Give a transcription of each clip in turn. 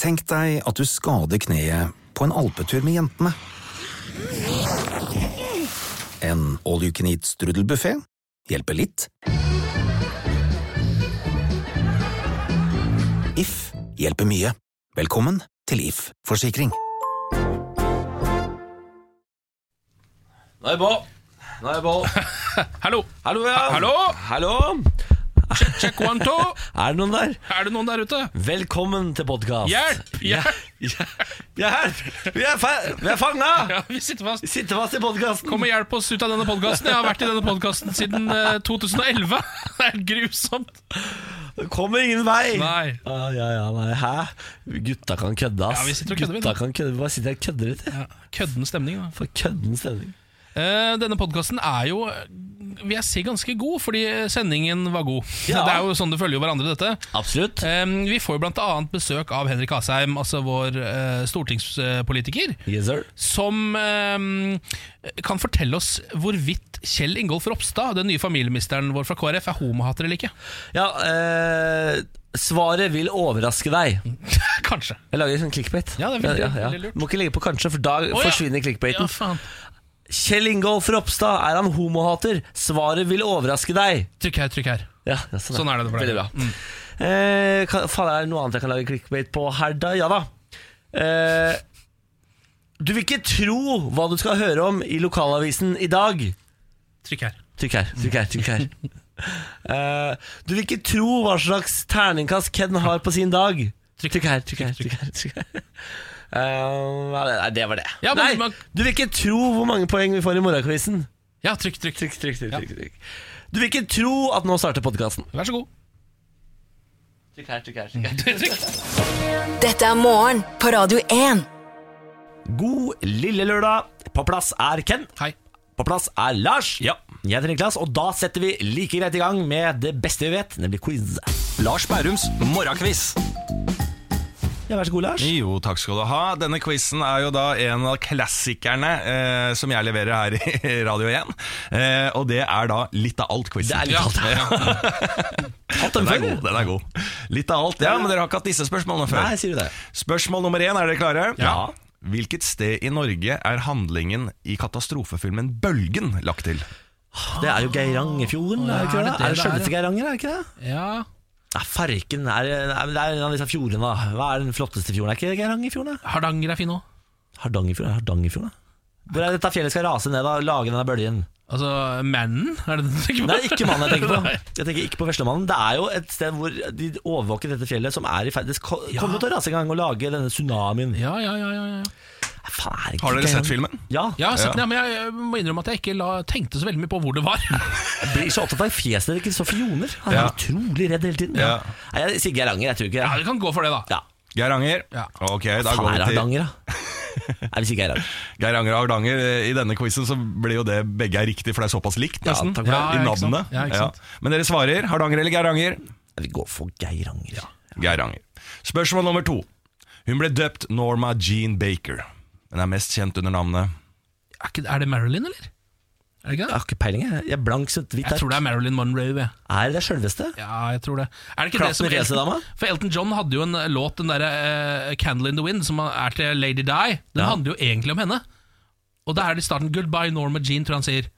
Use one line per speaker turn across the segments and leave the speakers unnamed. Tenk deg at du skader kneet på en alpetur med jentene. En all you can eat-strudelbuffé hjelper litt. If hjelper mye. Velkommen til If forsikring.
Nå er jeg på. Nå er jeg på.
Hallo!
Hallo, ja.
Hallo!
Hallo.
Check one, two!
Er det noen der?
Er det noen der ute?
Velkommen til podkast.
Hjelp! Hjelp!
Ja, ja, hjelp! Vi er, fa vi er fanga!
Ja, vi sitter fast.
Vi sitter fast i podkasten.
Kom og hjelp oss ut av denne podkasten. Jeg har vært i denne podkasten siden eh, 2011. Det er grusomt.
Kommer ingen vei.
Nei.
Ah, ja, ja, nei. Hæ? Gutta kan kødde, ass.
Ja, vi sitter og kødder, vi
Gutta
nå.
kan kødde. Vi bare sitter her og kødder litt.
Ja, kødden stemning, da.
For kødden stemning.
Eh, denne podkasten er jo eh, vil jeg si ganske god, fordi sendingen var god.
Ja.
Det er jo sånn det følger jo hverandre, dette.
Absolutt.
Eh, vi får jo blant annet besøk av Henrik Asheim, altså vår eh, stortingspolitiker.
Yes, sir.
som eh, kan fortelle oss hvorvidt Kjell Ingolf Ropstad, den nye familieministeren vår fra KrF, er homohater eller ikke.
Ja, eh, svaret vil overraske deg.
Kanskje.
Jeg lager sånn clickbait.
Ja, det er veldig- veldig lurt.
Må ikke legge på kanskje, for da
ja.
forsvinner clickbaiten.
Ja, faen.
Kjell Ingolf Ropstad, er han homohater? Svaret vil overraske deg.
Trykk her, trykk her.
Ja, ja,
Sånn er det for deg.
Veldig bra. Eh, kan, faen, er det noe annet jeg kan lage clickbait på her, da? Ja da. Eh, du vil ikke tro hva du skal høre om i lokalavisen i dag.
Trykk her.
Trykk her, trykk her, trykk her. Eh, du vil ikke tro hva slags terningkast Ken har på sin dag.
Trykk.
Trykk her, trykk her. trykk her, trykk her. Eh, nei, det var det.
Ja, men
nei,
man-
du vil ikke tro hvor mange poeng vi får i morgenquizen.
Ja, trykk, trykk.
Trykk, trykk, trykk, trykk, trykk. Du vil ikke tro at nå starter podkasten.
Vær så god.
Trykk her, trykk her, trykk her.
Dette er morgen på Radio 1.
God lille lørdag. På plass er Ken.
Hei.
På plass er Lars. Ja. Jeg heter Niklas, og da setter vi like greit i gang med det beste vi vet, nemlig quiz.
Lars Bærums morgenkviss.
Ja, Vær så god, Lars.
Jo, takk skal du ha. Denne quizen er jo da en av klassikerne eh, som jeg leverer her i Radio 1. Eh, og det er da litt av alt-quizen.
Det er litt av alt, Hatt den
Den er
før.
god, den er god. Litt av alt, ja, men dere har ikke hatt disse spørsmålene før.
Nei, sier du det.
Spørsmål nummer én, er dere klare?
Ja.
Hvilket sted i Norge er handlingen i katastrofefilmen Bølgen lagt til?
Det er jo Geirangerfjorden, er det ikke Ah. det? Er det
Er det det det er,
sjølveste
ja?
Geiranger, er det ikke det?
Ja
Nei, Farken er, nei, men Det er en av disse fjordene, da. Hva er den flotteste fjorden? Er ikke Geirangerfjorden? da?
Hardanger er fin òg.
Hardangerfjorden? er Hardangerfjorden, da? Hvor er dette fjellet skal rase ned og lage denne bølgen?
Altså Mannen, er det det du tenker på?
Det er ikke mannen jeg tenker på.
Nei.
Jeg tenker ikke på Veslemannen. Det er jo et sted hvor de overvåker dette fjellet, som er i ferd Det ko- kommer jo til å rase en gang og lage denne tsunamien.
Ja, ja, ja, ja, ja.
Nei, faen, er det ikke
Har dere
Geiranger?
sett filmen?
Ja.
Jeg har sett den, ja, men jeg, jeg må innrømme at jeg ikke la, tenkte så veldig mye på hvor det var.
Jeg blir så opptatt av fjeset til Kristoffer Joner. Han er
Ja.
utrolig redd hele tiden.
Ja.
Nei, jeg sier Geiranger, jeg tror ikke
Ja, Du kan gå for det, da.
Ja.
Geiranger.
Ja.
Ok, da
Faen,
går
er det
vi til
Hardanger, da? Nei, vi sier Geiranger.
Geiranger og Hardanger. I denne quizen så blir jo det begge er riktig, for det er såpass likt, nesten.
takk for det.
Ja, ja,
I
ikke sant.
navnet.
Ja, ikke sant.
Men dere svarer Hardanger eller Geiranger?
Nei, Vi går for Geiranger.
Geiranger. Spørsmål nummer to. Hun ble døpt Norma Jean Baker, men er mest kjent under navnet
Er, ikke, er det Marilyn, eller? Er det ikke
Jeg
det?
har ikke peiling, jeg. Jeg er blank som et hvitt
Jeg tror det er Marilyn Monroe. Jeg.
Er det det sjølveste?
Ja, jeg tror det. Er det ikke
Klapp
det som
med racedama?
Elton, For Elton John hadde jo en låt, den derre eh, 'Candle in the Wind', som er til Lady Di. Den handler jo egentlig om henne. Og da er det i starten 'Goodbye Norma Jean', tror jeg han sier.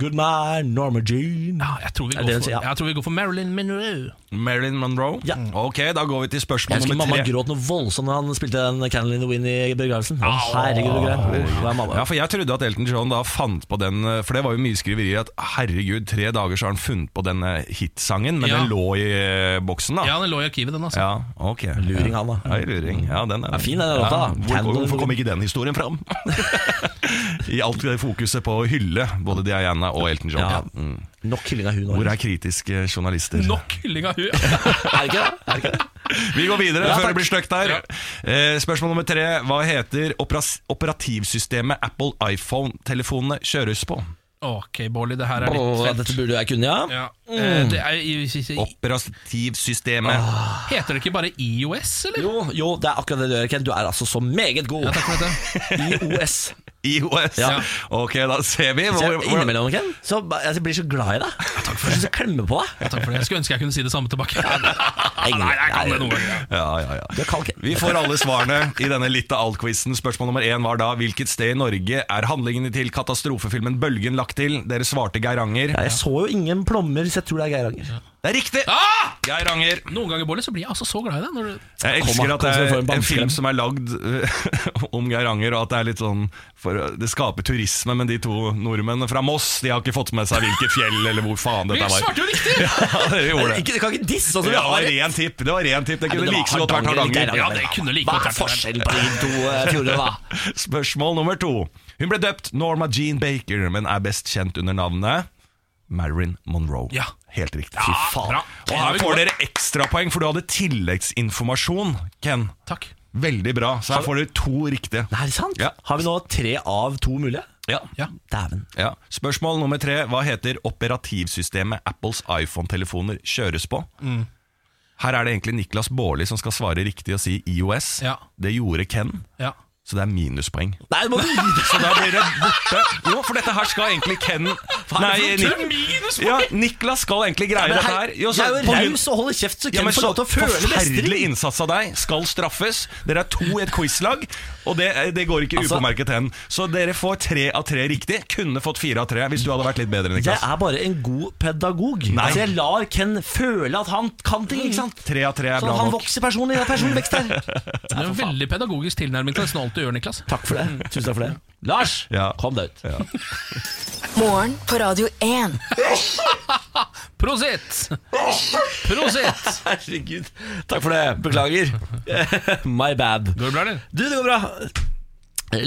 Good man, Norma Jean.
Ja, jeg tror vi
Er
går,
det den
for,
sier, ja.
jeg tror vi går for Marilyn Monroe.
Marilyn Monroe?
Ja.
Ok, da går vi til
Jeg
spørsmål
husker
nummer
mamma
tre.
gråt noe voldsomt da han spilte den Candle in the Wind i begravelsen. Å, Herregud, og greier. Hva er mamma?
Ja, for Jeg trodde at Elton John da fant på den eh, For det var jo mye skriverier at herregud, tre dager så har han funnet på denne hitsangen, men
Ja.
den lå i eh, boksen, da.
Ja, den lå i arkivet, den, altså.
Ja, ok
Luring, han, da.
Ja, i luring. Ja, den er,
er fin, den låta, da.
Ja. Hvor,
Candle-
hvorfor kom ikke den historien fram? I alt det fokuset på å hylle både Diana og Elton John.
Ja.
Mm.
Nok hylling av hun nå.
Hvor er kritiske journalister?
Nok hylling av hun
Er det ikke det? Er det ikke det?
Vi går videre
Ja,
før
takk.
det blir stygt der. Eh, spørsmål nummer tre. Hva heter operas operativsystemet Apple iPhone-telefonene kjøres på?
Ok, Bårli, det her er
Åh,
litt
dette
fett.
burde jeg kunne, ja.
Ja. eh, Det er, i- i- i-
Operativsystemet
Ah.
heter det ikke bare IOS, eller?
Jo, jo, det er akkurat det du gjør, Ken. Du er altså så meget god.
Ja, takk for dette.
IOS.
IOS.
Ja.
Ok, da ser vi.
Så
Hvor,
jeg,
hvor,
innimellom, Ken, så ba- altså, jeg blir så glad i deg. Takk for det. Så klemmer på deg.
Takk for det. Jeg skulle ønske jeg kunne si det samme tilbake. Nei, jeg kan det noen ganger. ja.
ja, ja, ja.
Du er kald, Ken.
Vi får alle svarene i denne litt av alt-quizen. Spørsmål nummer én var da hvilket sted i Norge er handlingene til katastrofefilmen 'Bølgen' lagt til? Dere svarte Geiranger.
Ja, jeg så jo ingen plommer, så jeg tror det er Geiranger.
Det er riktig!
Ah!
Geiranger.
Noen ganger Bolle, så blir jeg altså så glad i deg. Når du...
Jeg elsker
Kom,
at
kom, så
det
vi får
er
en
en
bamseklem.
film som er lagd eh, om Geiranger, og at det er litt sånn for, Det skaper turisme, men de to nordmennene fra Moss De har ikke fått med seg hvilket fjell eller hvor faen
Vi
dette var.
svarte jo riktig!
Ja, dere gjorde det.
Ikke, du kan ikke disse sånn som vi
Ja, det
har
var
det.
ren tipp. Det var ren tipp Det
men
kunne
det var
like så godt vært
Hardanger,
Hardanger.
Geiranger.
Ja, det kunne like
Hva
godt
er
vært
forskjellen på de to eh, fjordene, da?
Spørsmål nummer to. Hun ble døpt Norma Jean Baker, men er best kjent under navnet Marilyn Monroe.
Ja.
Helt riktig.
faen.
bra.
Og
Ja, vi
her får
går.
dere ekstrapoeng, for du hadde tilleggsinformasjon, Ken.
Takk.
Veldig bra. Så her får dere to riktige.
Nei, Er det sant?
Ja.
Har vi nå tre av to mulige?
Ja.
Ja.
Dæven.
Ja. Spørsmål nummer tre. Hva heter operativsystemet Apples iPhone-telefoner kjøres på?
Mm.
Her er det egentlig Niklas Baarli som skal svare riktig og si IOS.
Ja.
Det gjorde Ken,
Ja.
så det er minuspoeng.
Nei, du må
Så da blir det borte. Jo, for dette her skal egentlig Ken Nei, Nik ja, Niklas skal egentlig greie dette her. Jo, så
jeg er jo
på grunn-
raus og holder kjeft, så
Ja,
Ken
men
får
så
lov til å føle
forferdelig
mestring.
innsats av deg skal straffes. Dere er to i et quizlag, og det, eh, det går ikke
Altså-
upåmerket hen. Så dere får tre av tre riktig. Kunne fått fire av tre hvis du hadde vært litt bedre,
Jeg
Niklas.
er bare en god pedagog.
Nei.
Altså, jeg lar Ken føle at han kan ting, ikke sant?
Tre av tre er
Sånn
bra
at han
nok.
vokser personlig. Det er personvekst her.
Det er en veldig pedagogisk tilnærming til nesten alt du gjør, Niklas. Mm.
Takk for det. Tusen takk for det. Lars,
Ja.
kom deg ut.
Morgen på Radio 1.
Prosit! Prosit!
Herregud. Takk for det. Beklager. My bad.
Går det bra, eller?
Du, det går bra.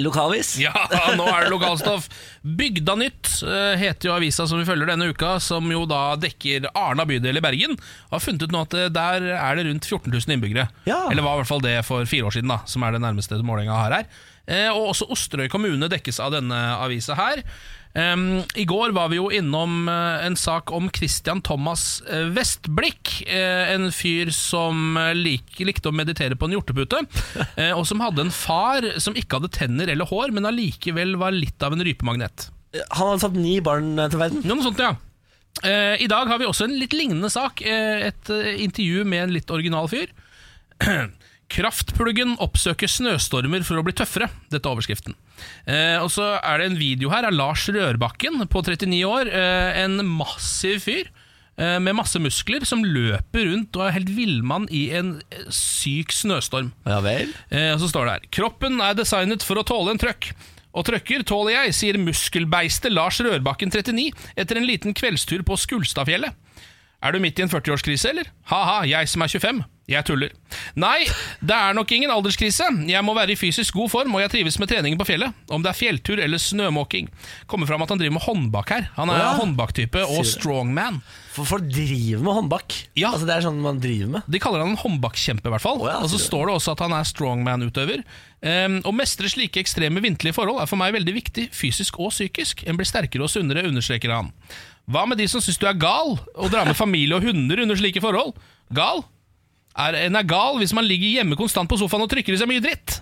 Lokalvis?
Ja, nå er det lokalstoff. Bygda Nytt eh, heter jo avisa som vi følger denne uka, som jo da dekker Arna bydel i Bergen. Og har funnet ut nå at eh, der er det rundt 14 000 innbyggere.
Ja.
Eller var i hvert fall det for fire år siden, da, som er det nærmeste målinga har her. Eh, Og også Osterøy kommune dekkes av denne avisa her. Em, I går var vi jo innom eh, en sak om Christian Thomas eh, Vestblikk. eh, en fyr som eh, lik, likte å meditere på en hjortepute, eh, og som hadde en far som ikke hadde tenner eller hår, men allikevel var litt av en rypemagnet.
Han hadde satt ni barn til verden.
Ja, noe sånt, ja. Eh, I dag har vi også en litt lignende sak. eh, et eh, intervju med en litt original fyr. Kraftpluggen oppsøker snøstormer for å bli tøffere. Dette er overskriften. Eh, og så er det en video her av Lars Rørbakken på 39 år. Eh, en massiv fyr eh, med masse muskler som løper rundt og er helt villmann i en eh, syk snøstorm.
Ja vel.
Eh, og så står det her Kroppen er designet for å tåle en trøkk. Og trøkker tåler jeg, sier muskelbeistet Lars Rørbakken 39 etter en liten kveldstur på Skulstadfjellet. Er du midt i en 40-årskrise, eller? Ha-ha, jeg som er 25. Jeg tuller. Nei, det er nok ingen alderskrise. Jeg må være i fysisk god form, og jeg trives med treningen på fjellet. Om det er fjelltur eller snømåking. Kommer fram at han driver med håndbak her. Han er
Å ja.
håndbaktype og strongman.
For folk driver med håndbak.
Ja.
Altså, det er sånn man driver med.
De kaller han en håndbakkjempe, i hvert fall.
Å ja,
og så
sier du.
står det også at han er strongman-utøver. Um, å mestre slike ekstreme vinterlige forhold er for meg veldig viktig, fysisk og psykisk. En blir sterkere og sunnere, understreker han. Hva med de som syns du er gal, og drar med familie og hunder under slike forhold? Gal? Er, en er gal hvis man ligger hjemme konstant på sofaen og trykker i seg mye dritt,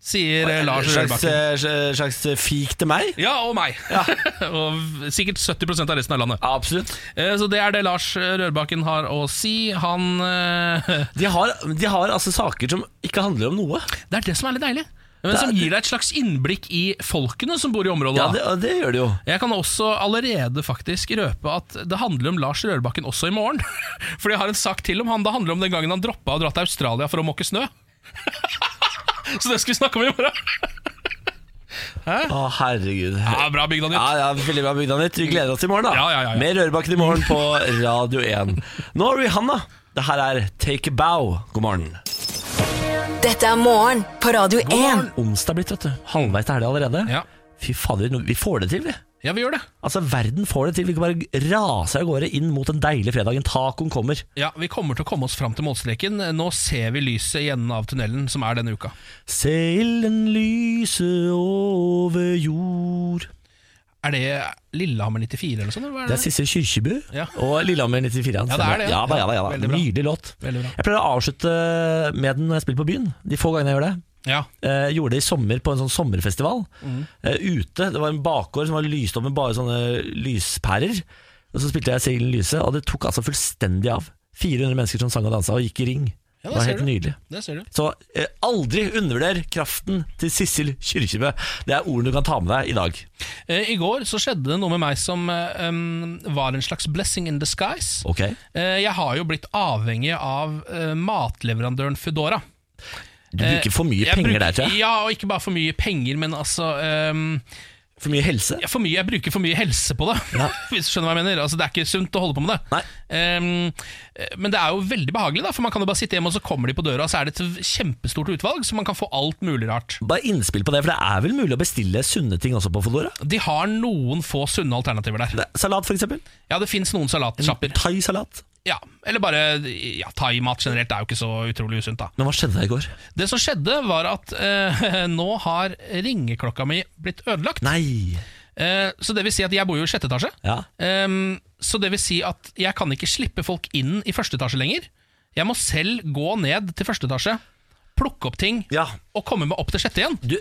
sier eh, Lars
slags,
Rørbakken.
eh, slags fik til meg.
Ja, og meg. og sikkert 70 av resten av landet.
Absolutt.
Eh, Så det er det Lars Rørbakken har å si. Han eh,
De har, de har altså saker som ikke handler om noe.
Det er det som er litt deilig. Men
Det er-
Som gir deg et slags innblikk i folkene som bor i området.
Ja,
da.
det, og det gjør de jo.
Jeg kan også allerede faktisk røpe at det handler om Lars Rørbakken også i morgen. For jeg har en sak til om han. Det handler om den gangen han droppa å dra til Australia for å måke snø. Så det skal vi snakke om i morgen.
Å, herregud.
Ja, Bra bygda nytt.
Ja, ja, Veldig bra, Bygda Nytt. Vi gleder oss til i morgen. da
Ja, ja, ja, ja.
Mer Rørebakken i morgen på Radio 1. Nå er Rihanna. Det her er Take a Bow. God morgen.
Dette er morgen på Radio 1.
Onsdag er blitt, vet du. Halvveis til helga allerede.
Ja.
Fy fader, no- vi får det til, vi.
ja, vi gjør det.
Altså, Verden får det til. Vi kan bare rase av gårde inn mot den deilige fredagen. Tacoen kommer.
Ja, Vi kommer til å komme oss fram til målstreken. Nå ser vi lyset i enden av tunnelen, som er denne uka.
Se ilden lyse over jord.
Er det Lillehammer 94 eller noe sånt? eller hva
Det er Sissel Kyrkjebø
Ja.
og Lillehammer 94. han
Ja, det er
stemmer.
det,
Ja
ja.
da, ja da, ja da.
Veldig bra.
Nydelig låt.
Veldig bra.
Jeg pleier å avslutte med den når jeg spiller på byen. De få gangene jeg gjør det.
Ja.
Eh, gjorde det i sommer på en sånn sommerfestival
Mm.
eh, ute. Det var en bakgård som var lyst opp med bare sånne lyspærer. Og så spilte jeg Siglen Lyse, og det tok altså fullstendig av. 400 mennesker som sang og dansa og gikk i ring.
Ja,
det var
ser
helt
du.
nydelig.
Det ser du.
Så eh, aldri undervurder kraften til Sissel Kyrkjebø. Det er ordene du kan ta med deg i dag.
Eh, I går så skjedde det noe med meg som eh, um, var en slags blessing in disguise.
Ok?
Eh, jeg har jo blitt avhengig av eh, matleverandøren Foodora.
Du bruker for mye
Eh, Jeg
penger
bruker-
der, tror jeg.
Ja, og ikke bare for mye penger, men altså ehm,
For mye helse.
ja, for mye, Jeg bruker for mye helse på det,
Ja.
hvis du skjønner hva jeg mener. Altså, Det er ikke sunt å holde på med det.
Nei.
Ehm, eh, men det er jo veldig behagelig, da for man kan jo bare sitte hjemme, og så kommer de på døra, og så er det et kjempestort utvalg, så man kan få alt mulig rart.
Bare innspill på det, for det er vel mulig å bestille sunne ting også på Fodora?
De har noen få sunne alternativer der.
Salat, for eksempel.
Ja, det fins noen salatsjapper.
Thaisalat.
Ja, eller bare ja, thaimat generelt er jo ikke så utrolig usunt, da.
Men hva skjedde der i går?
Det som skjedde, var at eh, nå har ringeklokka mi blitt ødelagt.
Nei!
Eh, så det vil si at jeg bor jo i sjette etasje.
Ja.
Ehm, så det vil si at jeg kan ikke slippe folk inn i første etasje lenger. Jeg må selv gå ned til første etasje, plukke opp ting
Ja.
og komme meg opp til sjette igjen.
Du,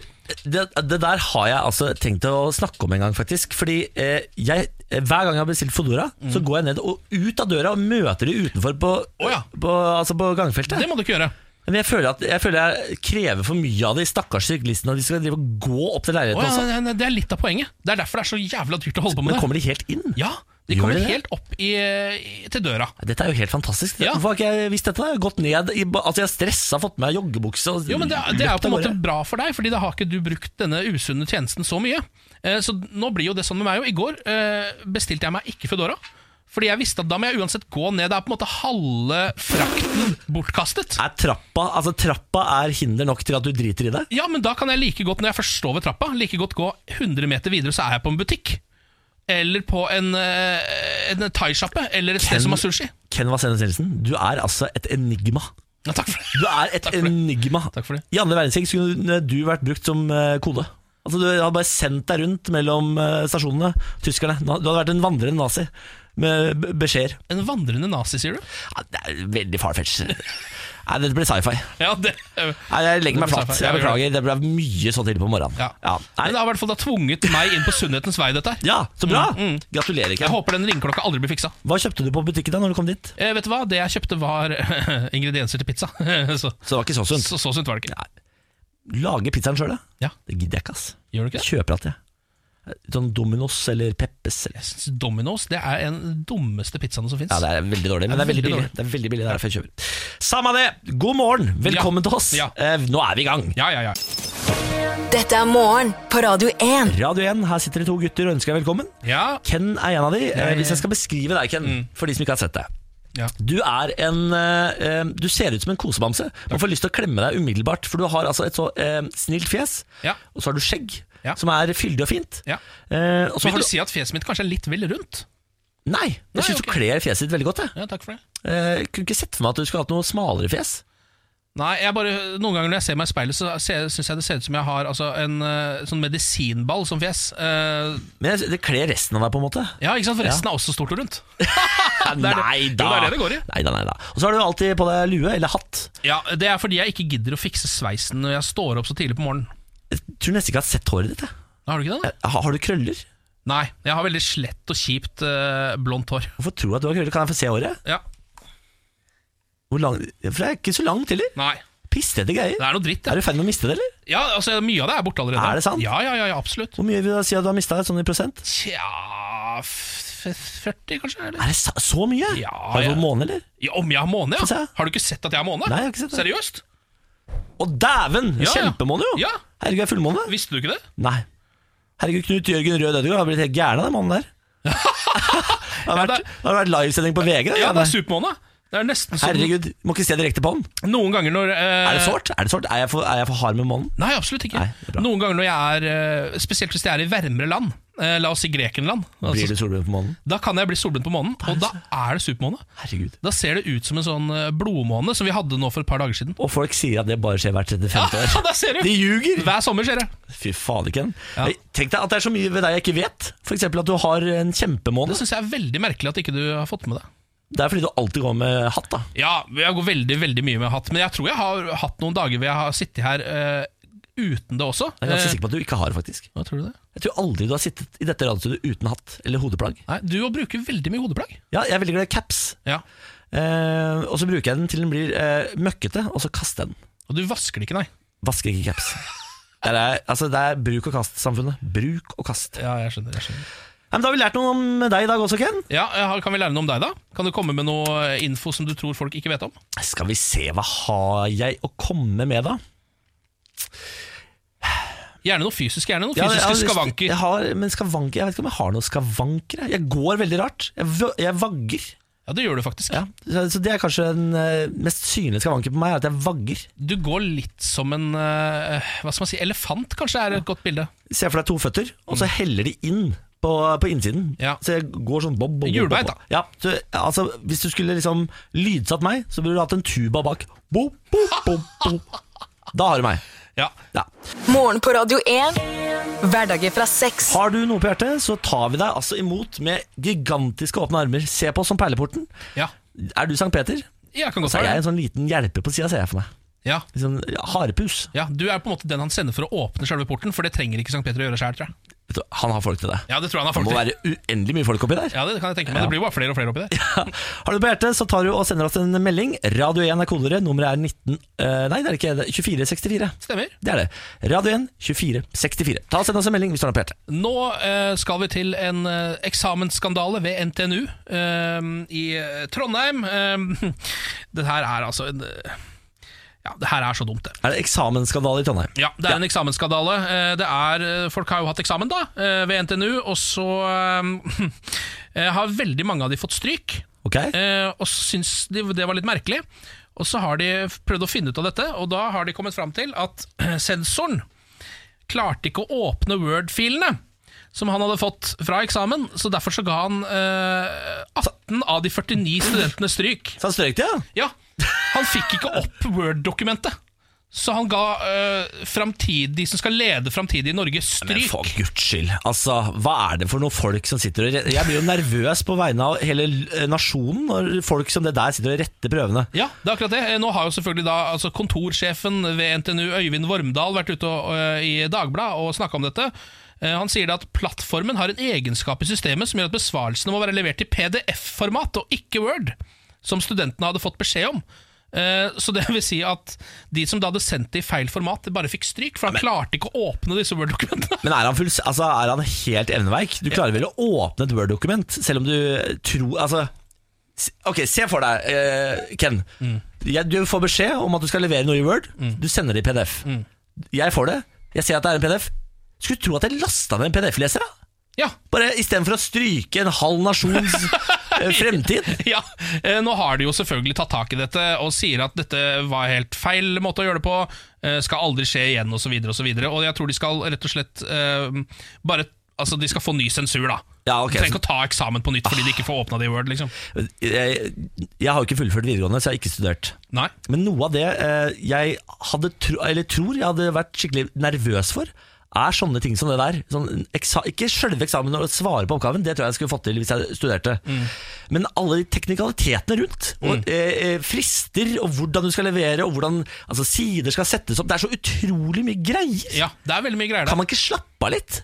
det, det der har jeg altså tenkt å snakke om en gang, faktisk. Fordi eh, jeg, hver gang jeg har bestilt Fodora, så går jeg ned og ut av døra og møter de utenfor på,
Mm. Å ja.
på, altså på gangfeltet.
Det må du ikke gjøre.
Men jeg føler, at, jeg føler jeg krever for mye av de stakkars syklistene når de skal drive og gå opp til
Å
leiligheten
ja,
også.
nei, nei, det er litt av poenget. Det er derfor det er så jævla dyrt å holde på med
Men
det.
kommer de helt inn?
Ja, De
Gjør
kommer
de det?
helt opp i, i, til døra.
Dette er jo helt fantastisk.
Ja.
Hvorfor har ikke jeg visst dette? da? Jeg har gått ned i, ba- altså jeg har stressa, fått med meg joggebukse og
Jo, men det, det er jo
løpt
på en
av
måte
gårde.
bra for deg, Fordi da har ikke du brukt denne usunne tjenesten så mye. Eh, Så nå blir jo det sånn med meg. Og i går eh, bestilte jeg meg ikke Foodora. Fordi jeg visste at da må jeg uansett gå ned. Det er på en måte halve frakten bortkastet.
Er trappa, altså trappa er hinder nok til at du driter i det?
Ja, men da kan jeg like godt, når jeg først står ved trappa, like godt gå 100 meter videre, så er jeg på en butikk. Eller på en, eh, en thaisjappe. Eller et sted
Ken-
som har sushi.
Ken Vasenus Nilsen, du er altså et enigma.
Ja, takk for det.
Du er et
Takk for det.
enigma.
Takk for det.
I andre verdenskrig skulle du vært brukt som eh, kode. Altså Du hadde bare sendt deg rundt mellom eh, stasjonene, tyskerne. Du hadde vært en vandrende nazi med b- beskjeder.
En vandrende nazi, sier du?
Ja, det er veldig farfetch. Nei, dette blir sci-fi.
Ja, det
Nei, jeg legger meg
Det blir
flatt.
sci-fi. Ja,
Jeg
vi gjør
beklager. Det ble mye så tidlig på morgenen.
Ja.
Nei.
Men det har i hvert fall da tvunget meg inn på sunnhetens vei, dette her.
ja så bra!
Mm, mm.
Gratulerer,
Jeg
Ken.
håper den ringeklokka aldri blir fiksa.
Hva kjøpte du på butikken da når du kom dit?
Eh, vet du hva? Det jeg kjøpte, var eh, ingredienser til pizza.
Så
så,
det var ikke så sunt.
så, så sunt var det ikke.
Lage pizzaen sjøl, da?
Ja,
Det gidder jeg ikke, ass.
Gjør du ikke det?
Kjøper alltid. jeg. Sånn Dominos eller Peppes. Eller.
Jeg synes Domino's det er en av de dummeste pizzaene som fins.
Ja, det er veldig dårlig, men det er veldig billig.
Veldig dårlig.
Det er veldig billig, det er derfor jeg kjøper. Samme det! God morgen, velkommen
Ja.
til oss.
Ja.
Eh, nå er vi i gang.
ja, ja, ja.
Dette er morgen på Radio 1.
Radio 1, her sitter det to gutter og ønsker deg velkommen.
ja.
Ken er en av de. Eh,
ja, ja.
hvis jeg skal beskrive deg, Ken,
Mm.
for de som ikke har sett deg.
Ja.
Du er en eh, eh, Du ser ut som en kosebamse. Man får lyst til å klemme deg umiddelbart, for du har altså et så eh, snilt fjes,
Ja.
og så har du skjegg,
Ja.
som er fyldig og fint.
Ja.
Eh, og så
Vil
har
du
du
si at fjeset mitt kanskje er litt vel rundt?
Nei,
Nei,
jeg syns
ok.
du kler fjeset ditt veldig godt. Jeg.
Ja, takk for det.
Eh, jeg kunne ikke sett for meg at du skulle hatt noe smalere fjes.
Nei, jeg bare, Noen ganger når jeg ser meg i speilet, så syns jeg det ser ut som jeg har altså, en eh, sånn medisinball som fjes. Eh,
Men jeg, det kler resten av deg, på en måte.
ja, ikke sant? For resten er også stort og rundt. det er det.
Nei
Jo,
da!
det er det det går i.
Nei da, nei da. Og så har du alltid på deg lue eller hatt.
Ja, Det er fordi jeg ikke gidder å fikse sveisen når jeg står opp så tidlig på morgenen.
Jeg tror nesten ikke jeg har sett håret ditt. jeg.
Har du ikke det? da?
Har, har du krøller?
Nei, jeg har veldig slett og kjipt eh, blondt hår.
Hvorfor tror jeg at du har krøller? Kan jeg få se håret?
Ja,
Hvor lang, for det er ikke så langt heller.
Nei,
Pissete greier.
det er noe dritt.
Er
Ja.
du i ferd med å miste det, eller?
Ja, altså, mye av det er borte allerede.
Er det sant?
Ja, ja, ja, ja absolutt.
Hvor mye vil du si at du har mista sånn i prosent?
Tja f- f- 40, kanskje? Eller?
Er det så, så mye?
Ja,
har du
ja.
fått måne, eller?
Ja, om jeg har måne,
Få se.
ja? Har du ikke sett at jeg har måne?
Nei, jeg har ikke sett det.
Seriøst?
Å dæven!
Ja, ja.
Kjempemåne, jo!
Ja.
Herregud, er fullmåne?
Visste du ikke det?
Nei. Herregud, Knut Jørgen Rød Ødegaard har blitt helt gæren av den mannen der. det har
Ja,
vært,
det
det har vært livesending på VG. da,
Ja,
Janne.
det er supermåne. Det er nesten som
Herregud, må ikke se direkte på den.
noen ganger når eh,
Er det sårt? Er, det sårt? er, jeg, for, er jeg for hard med månen?
Nei, absolutt ikke.
Nei, det er bra.
noen ganger når jeg er eh, Spesielt hvis jeg er i varmere land. eh, la oss si Grekenland.
Blir
Altså,
du altså. solbrun på månen?
da kan jeg bli solbrent på månen, og da er det supermåne.
Herregud.
Da ser det ut som en sånn eh, blodmåne som vi hadde nå for et par dager siden.
Og folk sier at det bare skjer hvert 35.
Ja,
år.
der ser
De
du!
ljuger!
Hver sommer skjer det.
Fy fader, Ken.
Ja.
Jeg- Tenk deg at det er så mye ved deg jeg ikke vet. F.eks. at du har en
Det
kjempemåne.
syns jeg er veldig merkelig at ikke du har fått med det.
Det er fordi du alltid går med hatt, da.
Ja, jeg går veldig veldig mye med hatt, men jeg tror jeg har hatt noen dager hvor jeg har sittet her eh, uten det også.
Jeg er ganske
Eh,
sikker på at du ikke har det, faktisk.
Hva tror du det?
Jeg tror aldri du har sittet i dette radiostudioet uten hatt eller hodeplagg.
Nei, du bruker veldig mye hodeplagg.
Ja, jeg er veldig glad i caps.
Ja.
Eh, og så bruker jeg den til den blir eh, møkkete, og så kaster jeg den.
Og du vasker det ikke, nei.
Vasker ikke caps. Det er, altså, det er bruk og kast-samfunnet. Bruk og kast.
Ja, jeg skjønner, jeg skjønner.
Nei, men da har vi lært noe om deg i dag også, Ken.
Ja, jeg har- Kan vi lære noe om deg, da? Kan du komme med noe eh, info som du tror folk ikke vet om?
Skal vi se, hva har jeg å komme med, da?
Gjerne noe fysisk. gjerne noe
Ja,
fysiske
jeg har lyst-
skavanker.
Jeg, har, men skavanker. jeg vet ikke om jeg har noen skavanker. jeg. Jeg går veldig rart. Jeg, v- jeg vagger.
Ja, det gjør du faktisk.
Ja. Så, så det er kanskje den eh, mest synlige skavanken på meg, er at jeg vagger.
Du går litt som en eh, hva skal man si, elefant, kanskje er et godt bilde.
Se for deg to føtter, og så heller de inn på, på innsiden.
Mm. Ja.
Så jeg går sånn bob, bob, bob.
Hjulbeint,
bob. Ja, så, altså, hvis du skulle liksom lydsatt meg, så burde du hatt en tuba bak. Bob, bob, bob, bob. Da har du meg.
Ja.
Ja.
Morgen på Radio 1. Hverdager fra seks.
Har du noe på hjertet, så tar vi deg altså imot med gigantiske åpne armer. Se på oss som perleporten.
ja.
Er du Sankt Peter?
Jeg kan godt
Så er
være
jeg
det.
en sånn liten hjelper på sida, ser jeg for meg.
Ja.
Litt Sånn harepus.
ja, Du er på en måte den han sender for å åpne selve porten, for det trenger ikke Sankt Peter å gjøre sjøl, tror jeg.
Vet du, Han har folk til det.
Ja, det tror jeg han har
Det
folk
må
til.
være uendelig mye folk oppi der.
Ja, det kan jeg tenke meg. Det blir jo bare flere og flere oppi der.
Har du det på hjertet, så tar du og sender oss en melding. Radio 1 er kodere, nummeret er 19 eh, Nei, det er det ikke. det er 2464.
Stemmer.
Det er det. Radio 1 2464. Ta og Send oss en melding hvis du har noe på hjertet.
Nå eh, skal vi til en eh, eksamensskandale ved NTNU eh, i eh, Trondheim. Eh, det her er altså en eh, Ja, det her er så dumt, det.
Er det eksamensskandale i Trondheim?
Ja, Det er en eksamensskandale. Eh, Det er, eh, folk har jo hatt eksamen da, eh, ved NTNU, og så eh, har veldig mange av de fått stryk.
Ok?
Eh, og syns de det var litt merkelig. Og så har de prøvd å finne ut av dette, og da har de kommet fram til at sensoren klarte ikke å åpne Word-filene som han hadde fått fra eksamen, så derfor så ga han eh, 18 av de 49 studentene stryk.
Så han strøk det, ja?
Ja, han fikk ikke opp Word-dokumentet. Så han ga eh, framtid- de som skal lede framtidig Norge,
Men
stryk.
for guds skyld, altså, hva er det for noen folk som sitter og Jeg blir jo nervøs på vegne av hele eh, nasjonen når folk som det der sitter og retter prøvene.
Ja, det er akkurat det. Eh, Nå har jo selvfølgelig da altså kontorsjefen ved NTNU, Øyvind Vormdal, vært ute og, eh, i Dagbladet og snakka om dette. Eh, Han sier da at plattformen har en egenskap i systemet som gjør at besvarelsene må være levert i PDF-format og ikke Word, som studentene hadde fått beskjed om. Eh, Så det vil si at de som da hadde sendt det i feil format, de bare fikk stryk, for han klarte ikke å åpne disse Word-dokumentene.
Men er han, full, altså, er han helt evneveik? Du klarer vel å åpne et Word-dokument, selv om du tror Altså, s- ok, se for deg, eh, Ken. Jeg, du får beskjed om at du skal levere noe i Word. Du sender det i PDF. Jeg får det. Jeg ser at det er en PDF. Skulle tro at jeg lasta ned en PDF-leser, da.
Ja,
Bare Istedenfor å stryke en halv nasjons eh, fremtid.
Ja, eh, Nå har de jo selvfølgelig tatt tak i dette og sier at dette var helt feil måte å gjøre det på. eh, Skal aldri skje igjen, osv. Og, så videre, og, så videre. og jeg tror de skal rett og slett eh, bare Altså, de skal få ny sensur, da.
Ja, ok,
de trenger ikke å ta eksamen på nytt fordi de ikke får åpna det i Word. liksom
Jeg, eh, jeg har jo ikke fullført videregående, så jeg har ikke studert.
Nei,
Men noe av det eh, jeg hadde tro, eller tror jeg hadde vært skikkelig nervøs for, er sånne ting som det der. Sånn eksa ikke selve eksamen og svare på oppgaven, det tror jeg jeg skulle fått til hvis jeg studerte. Men alle de teknikalitetene rundt, og, eh, eh, frister og hvordan du skal levere, og hvordan altså, sider skal settes opp, det er så utrolig mye greier.
ja, Det er veldig mye greier
Kan
der.
man ikke slappe av litt?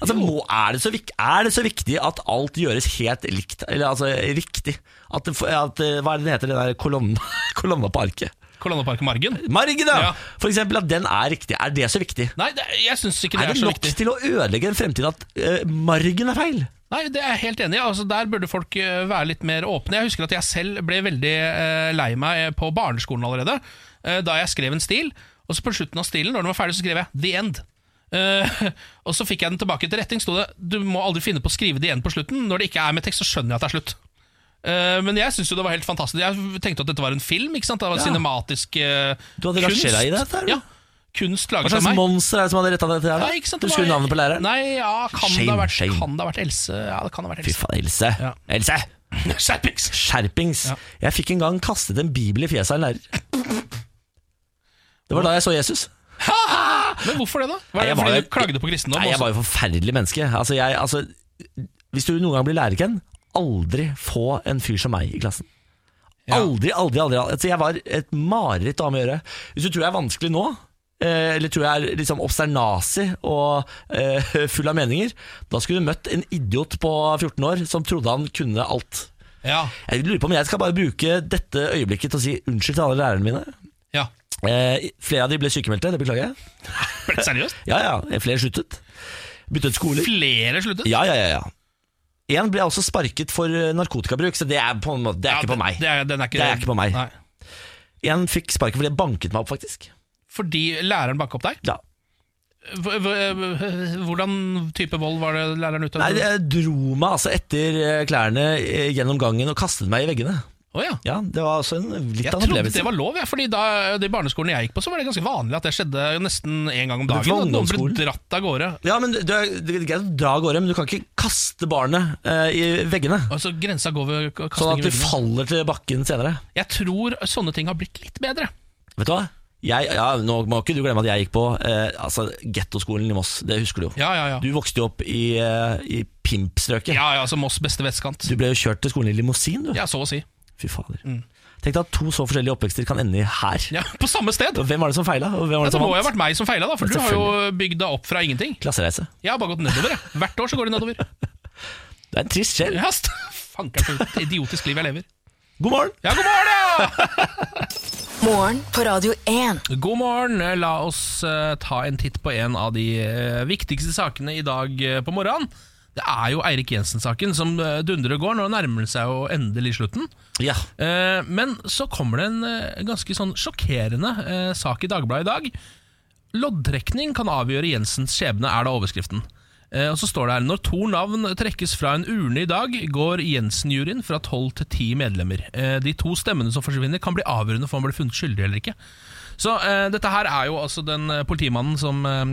Altså, må, er, det så vik er det så viktig at alt gjøres helt likt, eller altså riktig? At, det f- at, eh, hva er det det heter, den der kolonna, kolonna på arket?
Kolonneparken Margen?
Margen, ja.
Ja.
For eksempel at den er riktig. Er det så viktig?
Nei, det, jeg syns ikke det
er
er,
det
så
nok
viktig.
til å ødelegge en fremtid at eh, margen er feil?
Nei, det er jeg helt enig i. Altså, der burde folk eh, være litt mer åpne. Jeg husker at jeg selv ble veldig eh, lei meg eh, på barneskolen allerede, eh, da jeg skrev en stil. Og så på slutten av stilen, når den var ferdig, så skrev jeg 'The End'. Eh, og så fikk jeg den tilbake til retting. Sto det 'Du må aldri finne på å skrive det igjen på slutten'. Når det ikke er med tekst, så skjønner jeg at det er slutt. Eh, men jeg syns jo det var helt fantastisk. Jeg tenkte at dette var en film. ikke sant? Det var
Ja.
cinematisk eh,
Du hadde
kunst.
rasjera i dette, eller?
Ja, kunst
Hva
laget av
slags
meg.
monster er det som hadde retta dette? her, da?
Nei, ikke sant? det
Husker du
var-
navnet på læreren?
Nei, ja, kan,
Shame,
det ha vært,
shame.
kan det ha vært Else? Ja, det kan ha vært
Fy
Else.
faen, Else.
Ja.
Else!
Skjerpings!
Skjerpings.
Ja.
Jeg fikk en gang kastet en bibel i fjeset av en lærer. Det var da jeg så Jesus.
Men hvorfor det, da? Var
Nei,
det
jeg var
fordi
jo-
du klagde på kristendom?
Nei, jeg
også?
var jo forferdelig menneske. Altså, jeg, altså, hvis du noen gang blir lærer, Ken, aldri få en fyr som meg i klassen. Aldri, aldri, aldri. aldri. Altså, jeg var et mareritt å ha med å gjøre. Hvis du tror jeg er vanskelig nå, eh, eller tror jeg er liksom obsternasig og eh, full av meninger, da skulle du møtt en idiot på 14 år som trodde han kunne alt.
Ja.
Jeg lurer på om jeg skal bare bruke dette øyeblikket til å si unnskyld til alle lærerne mine.
ja.
Eh, flere av de ble sykemeldte, det beklager jeg.
Ble det seriøst?
Ja, ja, flere sluttet. Byttet skoler.
Flere sluttet?
Ja, ja, ja, ja. En ble også sparket for eh, narkotikabruk, så det er, på en måte, det er
Ja,
ikke på meg.
Det er, den er ikke,
Det er ikke på meg.
Nei.
En fikk sparket fordi jeg banket meg opp, faktisk.
Fordi læreren banka opp deg?
Ja.
Hv- hv- Hvordan type vold var det læreren utøvde?
Nei, jeg dro meg altså etter eh, klærne eh, gjennom gangen og kastet meg i veggene.
Å ja.
Ja, Det var altså en, litt
Jeg
av en
trodde
opplevelse.
det var lov, ja, Fordi da de barneskolene jeg gikk på, Så var det ganske vanlig at det skjedde jo nesten en gang
var
om dagen. At noen ble
ungdomsskolen.
dratt av gårde.
Ja, men du, du, det er greit å dra av gårde, men du kan ikke kaste barnet eh, i veggene.
Altså Grensa går ved k-
Sånn at
kasting i
du
veggene.
faller til bakken senere.
Jeg tror sånne ting har blitt litt bedre.
Vet du hva? Jeg, ja, nå må ikke du glemme at jeg gikk på eh, altså, gettoskolen i Moss. Det husker du jo.
Ja, ja, ja.
Du vokste jo opp i, eh, i pimpstrøket.
Ja, ja, altså Moss beste vestkant.
Du ble jo kjørt til skolen i limousin, du.
Ja, så å si.
Fy fader. Tenk deg at to så forskjellige oppvekster kan ende i her.
Ja, på samme sted!
Og Hvem var det som feila, og hvem var det
Det
som
må jo ha
vant?
vært meg som feila, da,
Ja,
for du har jo bygd deg opp fra ingenting.
Klassereise.
Jeg har bare gått nedover. jeg. Hvert år så går det nedover.
Det er en trist sjel.
Ja, st- Fanker for et idiotisk liv jeg lever.
God morgen!
Ja, god morgen! ja!
Morgen på Radio 1.
God morgen. La oss eh, ta en titt på en av de eh, viktigste sakene i dag eh, på morgenen. Det er jo Eirik Jensen-saken som eh, dundrer og går. Nå nærmer det seg jo endelig slutten.
Ja.
Eh, Men så kommer det en eh, ganske sånn sjokkerende eh, sak i Dagbladet i dag. Loddtrekning kan avgjøre Jensens skjebne, er da overskriften. Eh, Og så står det her Når to navn trekkes fra en urne i dag, går Jensen-juryen fra tolv til ti medlemmer. Eh, De to stemmene som forsvinner, kan bli avgjørende for om han blir funnet skyldig eller ikke. Så eh, dette her er jo altså den eh, politimannen som eh,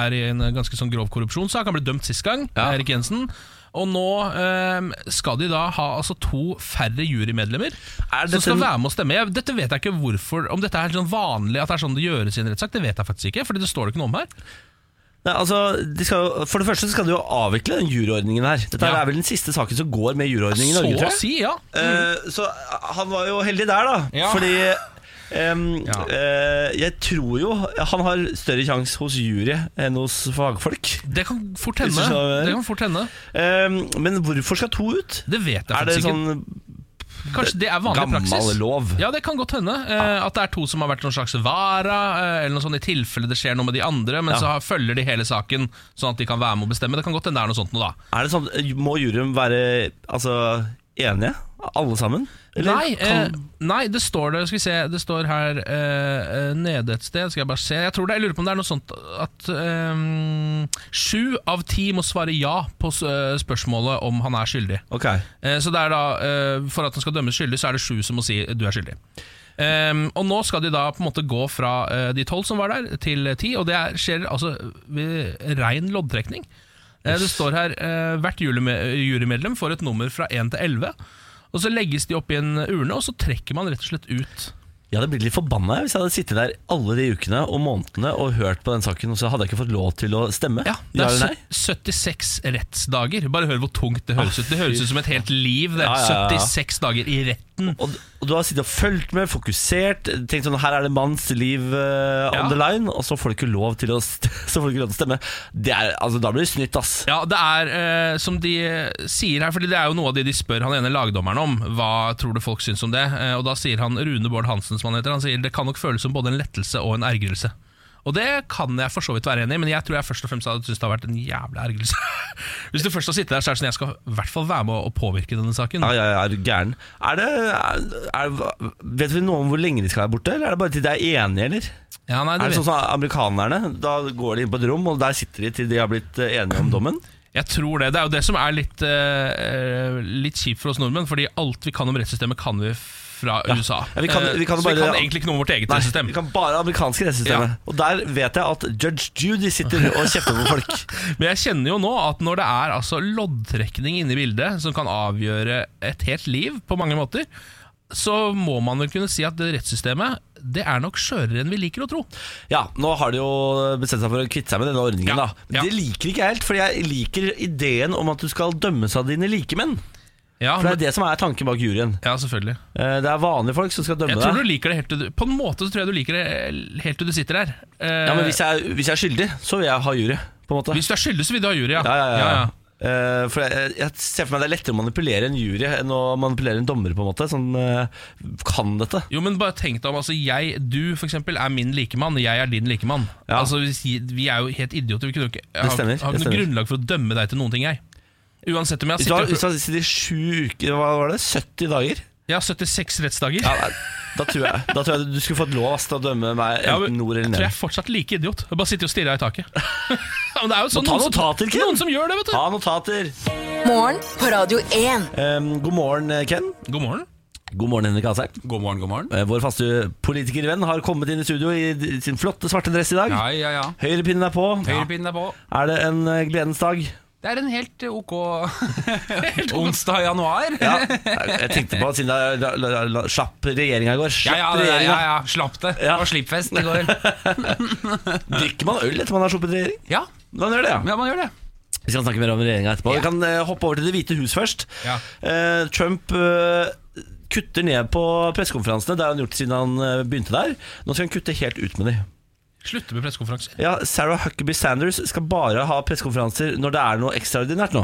er i en ganske sånn grov korrupsjonssak. Han ble dømt sist gang, Erik Jensen. Og nå eh, skal de da ha altså to færre jurymedlemmer
Er
som
dette
skal
en-
være med å stemme. Jeg, dette vet jeg ikke hvorfor Om dette er sånn vanlig at det er sånn det gjøres i en rettssak, det vet jeg faktisk ikke. Fordi det står det ikke noe om her.
Nei, altså, de skal, jo- for det første så skal de jo avvikle den juryordningen her. Dette
Ja.
er vel den siste saken som går med juryordning i
Så
Norge, tror
å
jeg.
si, ja.
Eh, så han var jo heldig der, da.
Ja.
Fordi ehm,
Ja.
eh, jeg tror jo han har større sjanse hos jury enn hos fagfolk.
Det kan fort
Hvis du
hende.
skjønner hva jeg
Det
mener.
kan fort hende
Ehm, men hvorfor skal to ut?
Det vet jeg
Er det
faktisk ikke.
sånn
Kanskje det er vanlig
gammel
praksis?
lov?
Ja, det kan godt hende. Eh, at det er to som har vært noen slags vara, eh, eller noe sånt i tilfelle det skjer noe med de andre, men
Ja.
så har- følger de hele saken, sånn at de kan være med å bestemme. Det kan godt hende det er noe sånt noe, da.
Er det sånn, Må juryen være altså, enige, alle sammen? Eller
nei,
kan-
eh, nei, det står det Skal vi se, det står her eh, eh, nede et sted. Skal jeg bare se. Jeg tror det, jeg lurer på om det er noe sånt at eh, sju av ti må svare ja på s- eh, spørsmålet om han er skyldig.
Ok,
Eh, Så det er da, eh, For at han skal dømmes skyldig, så er det sju som må si du er skyldig. Ehm, og Nå skal de da på en måte gå fra eh, de tolv som var der, til ti. Og det er, skjer altså ved rein loddtrekning. Eh, Det står her eh, hvert juryme- jurymedlem får et nummer fra 1 til 11. Og Så legges de opp i en urne, og så trekker man rett og slett ut.
Jeg hadde blitt litt forbanna jeg, hvis jeg hadde sittet der alle de ukene og månedene og hørt på den saken, og så hadde jeg ikke fått lov til å stemme.
Ja, Det
eller
er
nei?
76 rettsdager. Bare hør hvor tungt det høres ut. Det høres ut som et helt liv. Det
Ah, Ja, ja, ja, ja.
76 dager i retten.
Og, og du har sittet og fulgt med, fokusert, tenkt sånn her er det manns liv eh, on
Ja.
the line, og så får du ikke lov til å, st så får du ikke lov til å stemme. Det er, altså, da blir det snytt, ass.
Ja, det er eh, som de sier her, Fordi det er jo noe av det de spør han ene lagdommeren om. Hva tror du folk syns om det? Eh, og da sier han Rune Bård Hansen, som han heter, han sier det kan nok føles som både en lettelse og en ergrelse. Og det kan jeg for så vidt være enig i, men jeg tror jeg først og fremst hadde syntes det har vært en jævla ergrelse. Hvis du først har sittet der, så er det sånn jeg skal i hvert fall være med å påvirke denne saken.
Ja, ja, ja, er du gæren. Er det, er, er, vet vi noe om hvor lenge de skal være borte, eller er det bare til de er enige, eller?
Ja, nei,
Er
det
det
vet.
sånn som amerikanerne? Da går de inn på et rom, og der sitter de til de har blitt eh, enige om dommen.
Jeg tror det. Det er jo det som er litt, eh, eh, litt kjipt for oss nordmenn, fordi alt vi kan om rettssystemet, kan vi fra USA.
Ja, vi kan-
Eh,
vi kan
så
bare-
vi kan egentlig ikke noe om vårt eget rettssystem.
vi kan bare amerikanske rettssystemet. Og der vet jeg at judge Judy sitter og kjefter på folk.
Men jeg kjenner jo nå at når det er altså loddtrekning inne i bildet, som kan avgjøre et helt liv på mange måter, så må man vel kunne si at det rettssystemet det er nok skjørere enn vi liker å tro.
Ja, nå har de jo bestemt seg for å kvitte seg med denne ordningen,
Ja,
da. Men
ja.
det liker ikke jeg helt, for jeg liker ideen om at du skal dømmes av dine likemenn.
Ja,
For det er det som er tanken bak juryen.
ja selvfølgelig.
Eh, Det er vanlige folk som skal dømme
Jeg tror du
deg.
liker det helt til du På en måte så tror jeg du liker det helt til du sitter der. Eh,
Ja, men hvis jeg, hvis jeg er skyldig, så vil jeg ha jury. På en måte.
hvis du er skyldig, så vil du ha jury, ja.
ja, ja, ja.
Ja, ja.
Eh, for jeg, jeg ser for meg det er lettere å manipulere en jury enn å manipulere en dommer, på en måte, som eh, kan dette.
Jo, men bare tenk deg om altså, jeg, Du for eksempel er min likemann, jeg er din likemann.
Ja.
Altså, hvis, vi er jo helt idioter. Vi kunne jo ikke, jeg har,
stemmer,
har
det
ikke noe
stemmer.
grunnlag for å dømme deg til noen ting, jeg. Uansett om jeg
Hvis du har,
har
hvis
sittet
du har sittet i sju uker, hva var det, 70 dager?
Jeg har 76 rettsdager.
Ja, nei, da, tror jeg, da tror jeg du skulle fått lov ass, til å dømme meg
Ja,
enten
men
nord eller
Jeg tror jeg er
ned.
fortsatt like idiot. Jeg bare sitter og stirrer i taket. ja, men det er jo sånn
ta
noen,
notater,
som,
Ken.
noen som gjør det, vet du.
Ta notater!
Morgen på Radio 1.
Em, god morgen, eh, Ken.
God morgen.
God morgen, Henrik Asheim.
God morgen, god morgen.
Eh, Vår faste politikervenn har kommet inn i studio i d- sin flotte svarte dress i dag.
Ja, ja, ja.
Høyrepinnen er på.
Høyrepinnen er på.
Er det en eh, gledens dag?
Det er en helt ok onsdag i januar.
Ja. Jeg tenkte på at siden det er la- la- la- slapp regjeringa i går.
Ja,
Slapp
ja, det, ja, ja, slapp det. Det
Ja.
var slippfest i går.
Drikker man øl etter man har sluppet regjering?
Ja,
Man gjør det, ja.
ja man gjør det.
Vi skal snakke mer om regjeringa etterpå.
Ja.
Vi kan eh, hoppe over til Det hvite hus først.
Ja.
Eh, Trump eh, kutter ned på pressekonferansene. Det har han gjort siden han eh, begynte der. Nå skal han kutte helt ut med de.
Slutte med pressekonferanser.
Ja, Sarah Huckaby Sanders skal bare ha pressekonferanser når det er noe ekstraordinært nå.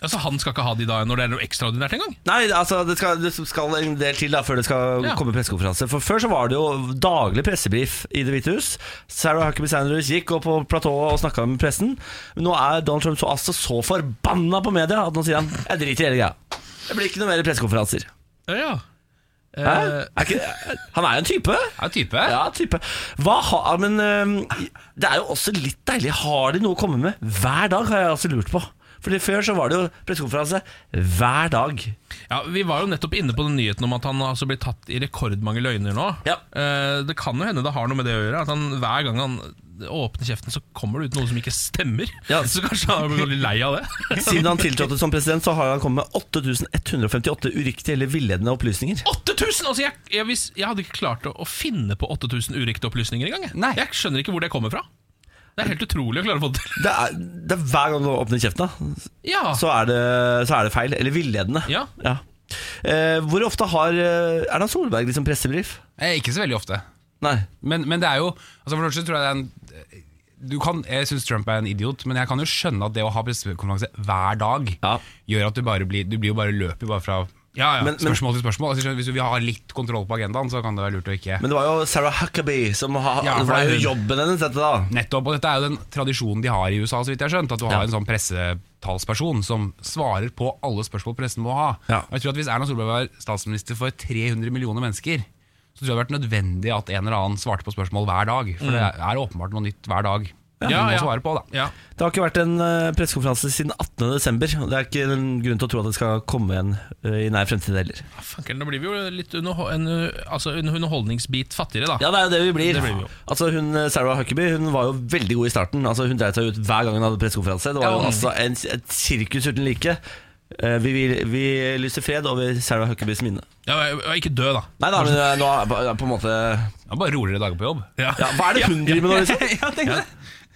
Altså, han skal ikke ha de da når det er noe ekstraordinært engang.
Nei, altså det skal, det skal en del til da før det skal
Ja.
komme pressekonferanse. For Før så var det jo daglig pressebrief i Det hvite hus. Sarah Huckaby Sanders gikk opp på platået og snakka med pressen. Men nå er Donald Trump så, altså, så forbanna på media at nå sier han jeg driter i hele greia. Det blir ikke noe mer pressekonferanser.
Ja, ja.
Hæ?
Eh,
Er ikke, han er jo en type.
Det er jo type.
Ja, type. Hva har Men øhm, det er jo også litt deilig. Har de noe å komme med? Hver dag har jeg altså lurt på. Fordi Før så var det jo pressekonferanse hver dag.
Ja, Vi var jo nettopp inne på den nyheten om at han altså blir tatt i rekordmange løgner nå.
Ja.
Eh, Det kan jo hende det har noe med det å gjøre. At han, Hver gang han åpner kjeften, så kommer det ut noe som ikke stemmer.
Ja.
Så kanskje han blir litt lei av det.
Siden han tiltrådte som president, så har han kommet med 8158 uriktige eller villedende opplysninger.
8000! Altså, jeg, jeg, hvis, jeg hadde ikke klart å, å finne på 8000 uriktige opplysninger engang. jeg.
Nei.
Jeg skjønner ikke hvor det kommer fra. Det er helt utrolig å klare å få det til.
Det er, det er Hver gang du åpner kjeften, da,
Ja.
så er det, så er det feil. Eller villedende.
Ja.
Eh, hvor ofte har eh, Erna Solberg liksom pressebrief?
Eh, Ikke så veldig ofte.
Nei.
Men, men det er jo altså For det første tror jeg det er en du kan, Jeg syns Trump er en idiot, men jeg kan jo skjønne at det å ha pressekonferanse hver dag
Ja.
gjør at du bare blir Du blir jo bare løper bare fra
ja, ja.
Men-
spørsmål til spørsmål. Altså, skjønner du, hvis du vil ha litt kontroll på agendaen, så kan det være lurt å ikke
Men det var jo Sarah Huckaby som har,
Ja,
det
for
var
det er
jo
hun.
jobben hennes, dette da.
Nettopp, og Dette er jo den tradisjonen de har i USA, så vidt jeg har skjønt. At du
Ja.
har en sånn pressetalsperson som svarer på alle spørsmål pressen må ha.
Ja.
Og jeg tror at Hvis Erna Solberg var statsminister for 300 millioner mennesker, så tror jeg det hadde vært nødvendig at en eller annen svarte på spørsmål hver dag. For det er åpenbart noe nytt hver dag. Ja,
Ja,
må
ja.
svare på da
ja.
Det har ikke vært en eh, pressekonferanse siden 18. desember. og Det er ikke en grunn til å tro at det skal komme en eh, i nær fremtid heller.
Fanker, Ah, nå blir vi jo litt underho en, uh, altså, en underholdningsbit fattigere, da.
Ja, det er jo det vi blir.
Det blir vi jo.
Altså hun, eh, Sarah Huckaby hun var jo veldig god i starten. Altså Hun dreit seg ut hver gang hun hadde pressekonferanse. Det var jo
Ja.
altså en, et sirkus uten like. Eh, Vi, vi, vi lyser fred over Sarah Huckabys minne.
Ja, ja, ja, ikke dø, da.
Nei da, men eh, nå er på- på en måte
Det er Bare roligere dager på jobb.
ja, Hva er det hun driver med nå, liksom?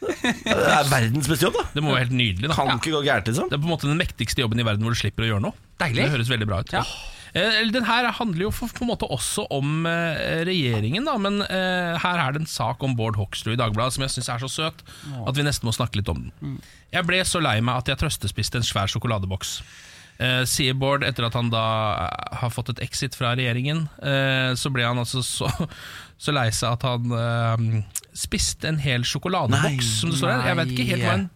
Det er verdens beste jobb, da.
Det må være helt nydelig. da
Kan ikke gå gærent, liksom.
Det er på en måte den mektigste jobben i verden hvor du slipper å gjøre noe.
Deilig.
Det høres veldig bra ut.
Ja.
Eh, eller Den her handler jo for, på en måte også om eh, regjeringen, da, men eh, her er det en sak om Bård Hoksrud i Dagbladet som jeg syns er så søt at vi nesten må snakke litt om
Mm.
den. Jeg ble så lei meg at jeg trøstespiste en svær sjokoladeboks. Eh, sier Bård, etter at han da eh, har fått et exit fra regjeringen, eh, så ble han altså så, så lei seg at han eh, spiste en hel
Nei,
sjokoladeboks, som det står her. Jeg vet ikke helt hva en,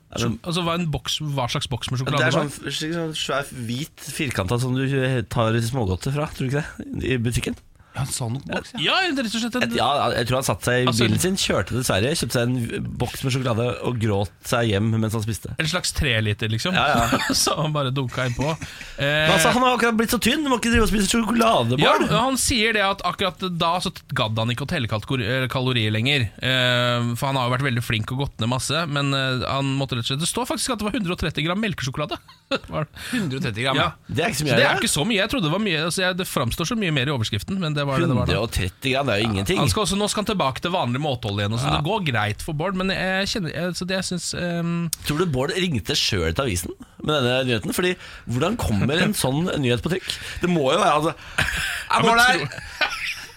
altså, hva, en boks, hva slags boks med
Det
sjokolade
er sånn, slik sånn svær hvit firkanta som du tar smågodter fra, tror du ikke det? I butikken.
Ja, en sånn boks, ja.
Ja, det er rett og slett en,
Et, ja, jeg tror han satte seg i
Altså-
bilen sin, kjørte til Sverige, kjøpte seg en boks med sjokolade og gråt seg hjem mens han spiste.
en slags treliter, liksom.
Ja,
Så han bare dunka innpå.
Men altså,
Eh,
han har akkurat blitt så tynn, du må ikke drive og spise sjokolade,
ja,
Bård.
han sier det at akkurat da så gadd han ikke å telle kalkor- eller kalorier lenger. Eh, for han har jo vært veldig flink og gått ned masse, men eh, han måtte rett og slett Det står faktisk at det var 130 gram melkesjokolade. Var det?
130 gram.
Ja.
Ja.
Det er ikke så
Så
mye.
det
er
er ikke så mye. Jeg trodde Det var mye altså jeg, Det framstår så mye mer i overskriften, men det var det det var. da.
130 gram, det er jo ingenting.
Han skal også, nå skal han tilbake til vanlig måtehold igjen. Og sånn. Det går greit for Bård, men jeg kjenner jeg, så det jeg synes, ehm,
Tror du Bård ringte sjøl til avisen med denne nyheten? Fordi hvordan kommer en sånn nyhet på trykk? Det må jo være altså Er Bård her?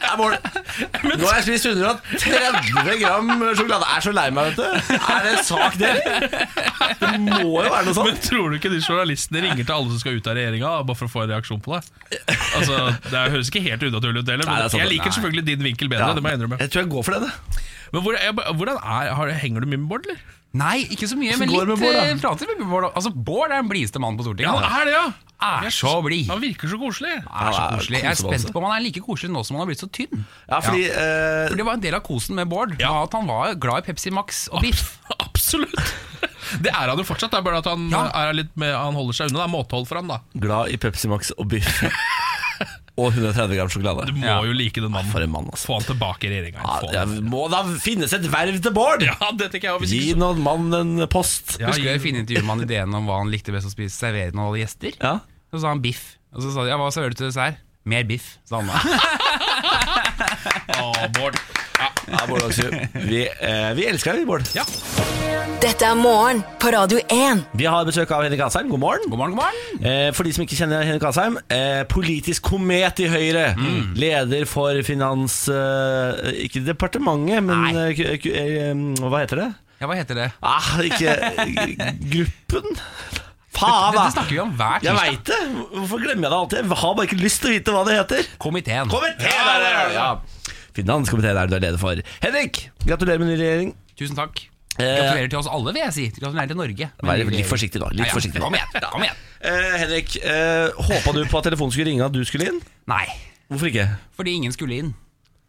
Er Bård Nå har jeg spist 130 gram sjokolade. Jeg er så lei meg, vet du. Er det en sak, det? Det må jo være noe
Men
sånt.
tror du ikke de journalistene ringer til alle som skal ut av regjeringa, bare for å få en reaksjon på det? Altså, Det høres ikke helt unaturlig ut heller,
Nei,
men
det er sant,
jeg liker
nei.
selvfølgelig din vinkel bedre. det må jeg innrømme.
tror jeg går for det. det.
Men hvor, jeg, hvordan er, har, Henger du mye med Bård, eller?
Nei, ikke så mye,
Hvordan
men
går det med
litt
Bård, da?
eh, prater med Bård. da. Altså, Bård er den blideste mannen på Stortinget.
han er det, ja!
Er så blid.
Han virker så koselig.
er så koselig. Jeg er
Kosebamse.
spent på om han er like koselig nå som han har blitt så tynn.
Ja, fordi eh,
For Det var en del av kosen med Bård. var At han var glad i Pepsi Max og biff.
Absolutt! Det er han jo fortsatt, det er bare at han,
Ja.
er litt med, han holder seg unna. Det er måtehold for han da.
glad i Pepsi Max og biff. Og 130 gram sjokolade.
Du må
Ja.
jo like den mannen.
For en mann, altså.
Få han tilbake i regjeringa.
Ja,
Få han.
det er- må da finnes et verv til Bård!
Ja, det tenker jeg også, hvis
Gi
ikke så-
nå mannen en post.
Ja,
Husker
gi-
jeg fine intervjuet med han ideen om hva han likte best å spise, servere når han hadde gjester.
Ja.
Så sa han biff. Og så sa de ja, hva serverer du til dessert? Mer biff, sa han da.
Å, Bård. Ja.
Ja, Bård Hoksrud. Vi, eh, vi elsker deg, Bård.
Ja.
Dette er morgen på Radio 1.
Vi har besøk av Henrik Asheim. God morgen.
God morgen, god morgen.
Eh, for de som ikke kjenner Henrik Asheim, eh, politisk komet i Høyre.
Mm.
Leder for finans... Eh, ikke departementet, men
Nei.
eh, ku- ku- eh, um, Hva heter det?
Ja, hva heter det?
Ah, ikke Gruppen? Faen,
Dette
da!
snakker vi om hver
Jeg
tirsdag.
veit det! Hvorfor glemmer jeg det alltid? Jeg har bare ikke lyst til å vite hva det heter.
Komiteen.
Komiteen er det! Ja. Finanskomiteen er det du er leder for. Henrik, gratulerer med ny regjering.
Tusen takk.
Eh,
Gratulerer til oss alle, vil jeg si. Gratulerer til Norge.
Vær litt forsiktig, da. Litt
Ja, ja.
forsiktig.
Kom igjen. kom igjen
Eh, Henrik, eh, håpa du på at telefonen skulle ringe at du skulle inn?
Nei,
Hvorfor ikke?
fordi ingen skulle inn.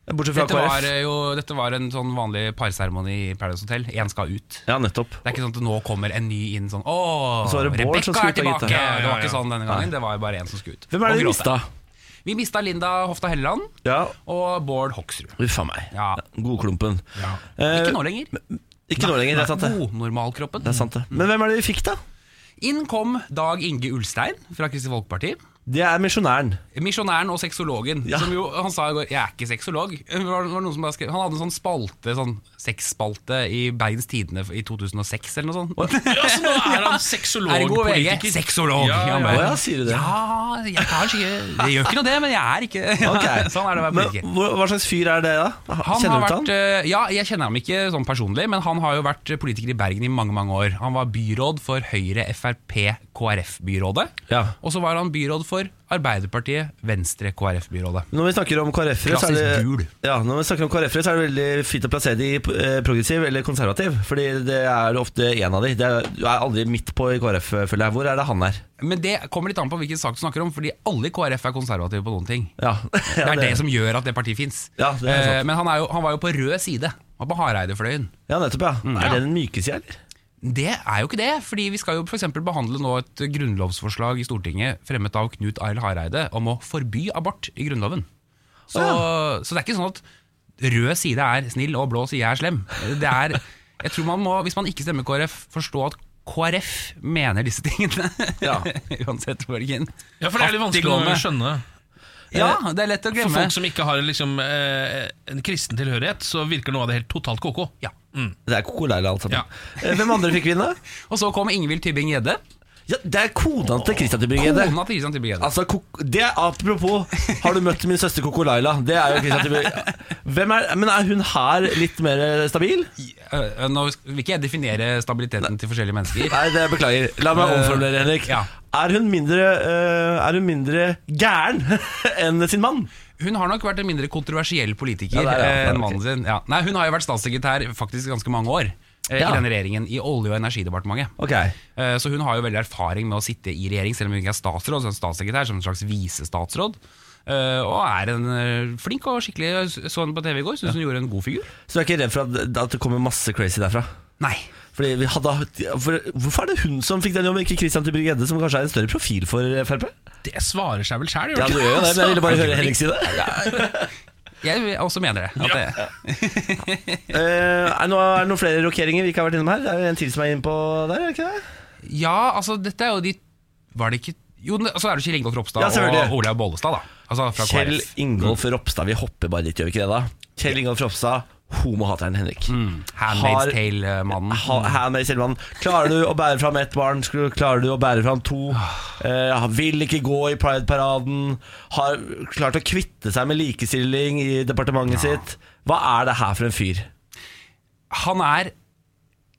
Bortsett fra
Dette var,
KrF.
eh, jo, dette var en sånn vanlig parseremoni i Paradise Hotel. Én skal ut.
Ja, nettopp.
Det er ikke sånn at nå kommer en ny inn sånn Åh,
så var det Bård som
Rebekka
skulle ut
er
av hytta.
tilbake!
Ja,
Det var ikke sånn denne gangen. Det var bare én som skulle ut.
Hvem er
Og
det vi
gråte.
mista?
Vi mista Linda Hofta Helleland
Ja,
og Bård Hoksrud.
Uff a meg.
Ja.
Godklumpen. Eh,
Ikke nå lenger.
Ikke nå lenger, det er sant det.
Godnormalkroppen.
Det er sant det. Men hvem er det vi fikk, da?
Inn kom Dag Inge Ulstein fra Kristelig Folkeparti.
Det er misjonæren.
Misjonæren og sexologen.
Ja.
Som jo, han sa i går 'jeg er ikke sexolog'. Det var- det var noen som bare skrev- Han hadde en sånn spalte, sånn sexspalte i Bergens Tidende i 2006 eller noe sånt.
Ja, så nå er han sexolog,
Ergo VG,
politiker.
sexolog.
Ja, ja,
Å
Han bare,
ja, sier du det?
Ja, jeg kan ikke Det gjør ikke noe det, men jeg er ikke
Ok.
Sånn er det å være politiker.
Men, hva- hva slags fyr er det, da? Ha-
Han
Kjenner
har
du
vært,
til han?
eh, ja, Jeg kjenner ham ikke sånn personlig, men han har jo vært politiker i Bergen i mange mange år. Han var byråd for Høyre, Frp, KrF-byrådet.
Ja.
Og så var han byråd for Arbeiderpartiet, Venstre, KrF-byrådet.
Når vi snakker om KrF-ere, så, er
Klassisk
det-
gul.
ja, når vi snakker om KrF-ere, så er det veldig fint å plassere de i eh, progressiv eller konservativ. Fordi det er ofte en av de. Det er, du er aldri midt på i KrF, føler jeg. Hvor er det han er?
Men det kommer litt an på hvilken sak du snakker om, fordi alle i KrF er konservative på noen ting.
Ja,
Det er det som gjør at det partiet fins.
Ja, det er sant.
men han, er jo, han var jo på rød side, og på Hareidefløyen.
Ja, nettopp, Mm. ja. Er det den myke sida, eller?
Det er jo ikke det, fordi vi skal jo for eksempel behandle nå et grunnlovsforslag i Stortinget fremmet av Knut Arild Hareide om å forby abort i Grunnloven. Så, så det er ikke sånn at rød side er snill og blå side er slem. Det er, jeg tror man må, Hvis man ikke stemmer KrF, forstå at KrF mener disse tingene.
Ja.
Uansett, Borgen.
Ja, for det er litt vanskelig å skjønne.
Ja, Eh, det er lett å
For
glemme.
folk som ikke har liksom, eh, en kristen tilhørighet, så virker noe av det helt totalt koko.
Ja.
Det er Coco Leila, alt sammen.
Ja.
Eh, Hvem andre fikk vinne?
Og så kom Ingvild Tybing-Gjedde.
Ja, det er kona til Christian Tybring-Gjedde.
Kona til Christian Tybing-Gjedde.
Altså, Coco- det er Apropos, har du møtt min søster Coco Leila? Det er jo Christian Tybring Hvem er Men er hun her litt mer eh, stabil?
Øh, øh, Nå vil ikke jeg definere stabiliteten til forskjellige mennesker.
Nei, det beklager. La meg omformulere, Henrik.
ja.
Er hun mindre eh, Er hun mindre gæren enn sin mann?
Hun har nok vært en mindre kontroversiell politiker
Ja, det er det,
eh,
ja,
enn
ok.
mannen sin. Ja. Nei, hun har jo vært statssekretær faktisk ganske mange år eh,
Ja.
i denne regjeringen, i Olje- og energidepartementet.
Ok.
Eh, Så hun har jo veldig erfaring med å sitte i regjering, selv om hun ikke er statsråd, så er hun statssekretær, som en slags visestatsråd. Eh, Og er en eh, flink og skikkelig Så henne på TV i går, syns hun gjorde en god figur.
Så du er ikke redd for at, at det kommer masse crazy derfra?
Nei.
Fordi vi hadde, for, hvorfor er det hun som fikk den jobben, ikke Christian Tybring-Gjedde, som kanskje er en større profil for Frp?
Det svarer seg vel sjæl,
Ja,
gjør
du
det ikke?
gjør jo det, men jeg ville bare høre Henrik si det.
Altså, Jeg vil- også mener det. At det
Eh, er, det noe, er det noen flere rokeringer vi ikke har vært innom her? Er det en til som er inne på der, er det ikke det?
ja, altså dette er jo de Var det ikke Jo, ne- altså er det Kjell Ingolf Ropstad
Ja, selvfølgelig.
og Olaug Bollestad, da. Altså fra
Kjell
KrF.
Ingolf Ropstad, vi hopper bare litt, gjør vi ikke det da? Kjell Ingolf Ropstad, homohateren Henrik.
Mm.
Har-
Handmaid's Tale-mannen.
Ha, her med Selman. Klarer du å bære fram ett barn, skru- klarer du å bære fram to. Eh, han vil ikke gå i Pride-paraden. Har klart å kvitte seg med likestilling i departementet sitt. Hva er det her for en fyr?
Han er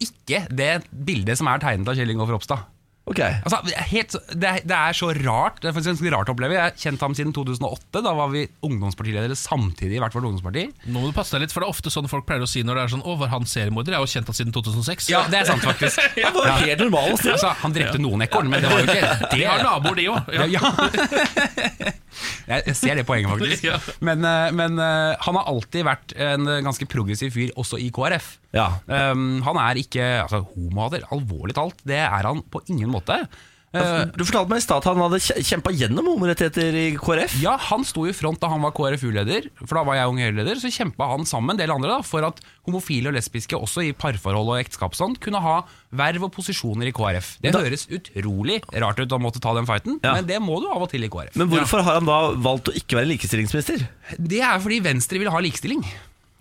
ikke det bildet som er tegnet av Kjell Ingolf Ropstad.
Ok,
Altså, helt, det, er- det er så rart Det er faktisk ganske rart å oppleve Jeg har kjent ham siden 2008 Da var vi ungdomspartiledere samtidig i hvert vårt ungdomsparti
Nå må du passe deg litt, for det er ofte sånn folk pleier å si når det er sånn 'Å, var han seriemorder?' Jeg har jo kjent han siden 2006.
Ja, det er sant faktisk
Han var helt normal og snill.
altså, Han drepte noen ekorn, men det var jo ikke
De
det
har naboer, de òg.
Ja. Jeg jeg ser det poenget, faktisk.
Ja.
Men, eh, men eh, han har alltid vært en ganske progressiv fyr, også i KrF.
Ja.
Um, han er ikke altså, homohater, alvorlig talt. Det er han på ingen måte. Eh,
Du fortalte meg i stad at han hadde kjempa gjennom homorettigheter i KrF.
ja, Han sto i front da han var KrFU-leder, for da var jeg ung E Høyre-leder. Så kjempa han sammen med en del andre da, for at homofile og lesbiske også i parforhold og ekteskap og sånn, kunne ha verv og posisjoner i KrF. Det høres utrolig rart ut å måtte ta den fighten,
Ja.
men det må du av og til i KrF.
Men hvorfor har han da valgt å ikke være likestillingsminister?
Det er fordi Venstre vil ha likestilling.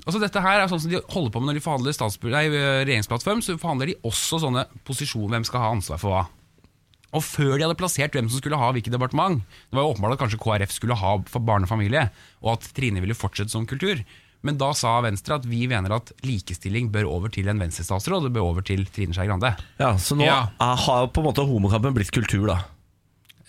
Altså dette her er sånn som De holder på med når de forhandler statsbu- nei, regjeringsplattform, så forhandler de også sånne posisjoner, hvem skal ha ansvar for hva. Og før de hadde plassert hvem som skulle ha hvilket departement Det var jo åpenbart at kanskje KrF skulle ha for barn og familie, og at Trine ville fortsette som kultur. Men da sa Venstre at vi mener at likestilling bør over til en Venstre-statsråd, det bør over til Trine Skei Grande.
Ja, Så nå
Ja.
er- har på en måte homokampen blitt kultur, da.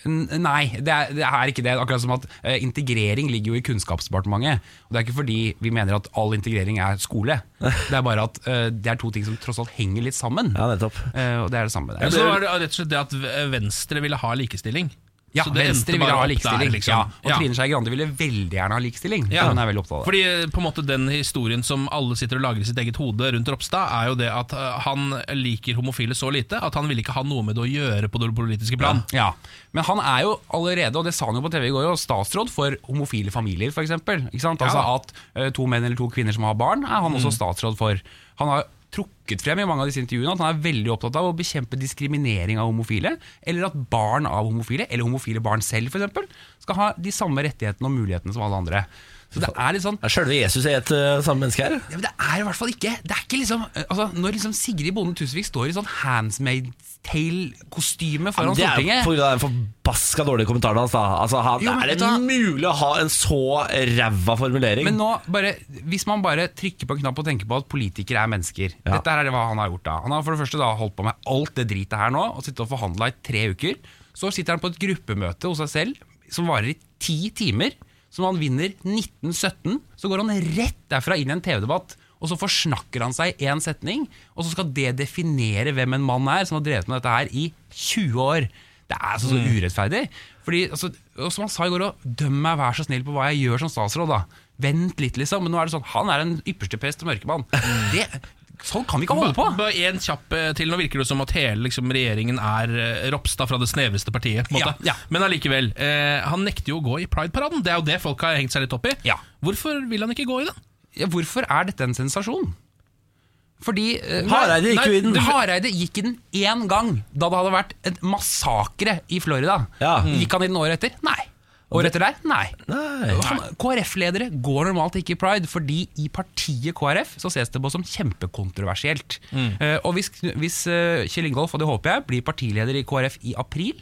N- Nei, det er, det er ikke det. Akkurat som at eh, integrering ligger jo i Kunnskapsdepartementet. Og det er ikke fordi vi mener at all integrering er skole. Det er bare at eh, det er to ting som tross alt henger litt sammen.
Ja, nettopp.
Eh, og det er det samme med det.
Så nå er det eh, rett og slett det at Venstre ville ha likestilling.
Ja,
Så det endte
Venstre ville
bare
ha
opp der,
likestilling.
liksom.
ja, og
Ja.
Trine Skei Grande ville veldig gjerne ha likestilling.
Ja.
Hun er veldig opptatt av det.
Fordi eh, på en måte den historien som alle sitter og lager i sitt eget hode rundt Ropstad, er jo det at eh, han liker homofile så lite at han ville ikke ha noe med det å gjøre på det politiske plan.
Ja, Men han er jo allerede, og det sa han jo på TV i går, jo, statsråd for homofile familier, f.eks. Altså at eh, to menn eller to kvinner som har barn, er han også
Mm.
statsråd for. Han har trukket frem i mange av disse intervjuene at han er veldig opptatt av å bekjempe diskriminering av homofile, eller at barn av homofile, eller homofile barn selv f.eks., skal ha de samme rettighetene og mulighetene som alle andre. Så det er litt sånn
Er Sjølve Jesus er et eh, samme menneske her?
ja, men det er i hvert fall ikke Det er ikke liksom altså, Når liksom Sigrid Bonde Tusvik står i sånn Handsmaid's Tale-kostyme foran
Det er jo
Stortinget
på grunn av den forbaska dårlige kommentaren hans. da altså, han,
Jo, men
Er
vet du hva?
det mulig å ha en så ræva formulering?
Men nå, bare, hvis man bare trykker på en knapp og tenker på at politikere er mennesker
Ja.
Dette her er det hva han har gjort da Han har for det første da holdt på med alt det dritet her nå Og sittet og forhandlet i tre uker Så sitter han på et gruppemøte hos seg selv Som varer i ti timer Som han vinner 1917 Så går han rett derfra inn i en TV-debatt og så forsnakker han seg i en setning, og så skal det definere hvem en mann er som har drevet med dette her i 20 år. Det er altså så urettferdig. Fordi, altså, og som han sa i går, også, døm meg vær så snill på hva jeg gjør som statsråd, da. Vent litt, liksom. Men nå er det sånn, han er den ypperste prest og mørkemann. Det, sånn kan vi ikke holde på!
Bare en kjapp eh, til. Nå virker det som at hele liksom, regjeringen er eh, Ropstad fra det snevreste partiet. På en måte.
Ja, ja.
Men allikevel. Eh, han nekter jo å gå i Pride-paraden. Det er jo det folk har hengt seg litt opp i.
Ja.
Hvorfor vil han ikke gå i den?
Ja, hvorfor er dette en sensasjon? Fordi eh,
Hareide gikk
nei,
jo i den.
det- Hareide gikk i den én gang, da det hadde vært en massakre i Florida. Mm.
Ja.
Gikk han i den året etter? Nei. Året etter der? Nei.
Nei.
Han- KrF-ledere går normalt ikke i pride, fordi i partiet KrF så ses det på som kjempekontroversielt.
Mm.
Eh, og hvis, hvis eh, Kjell Ingolf, og det håper jeg, blir partileder i KrF i april,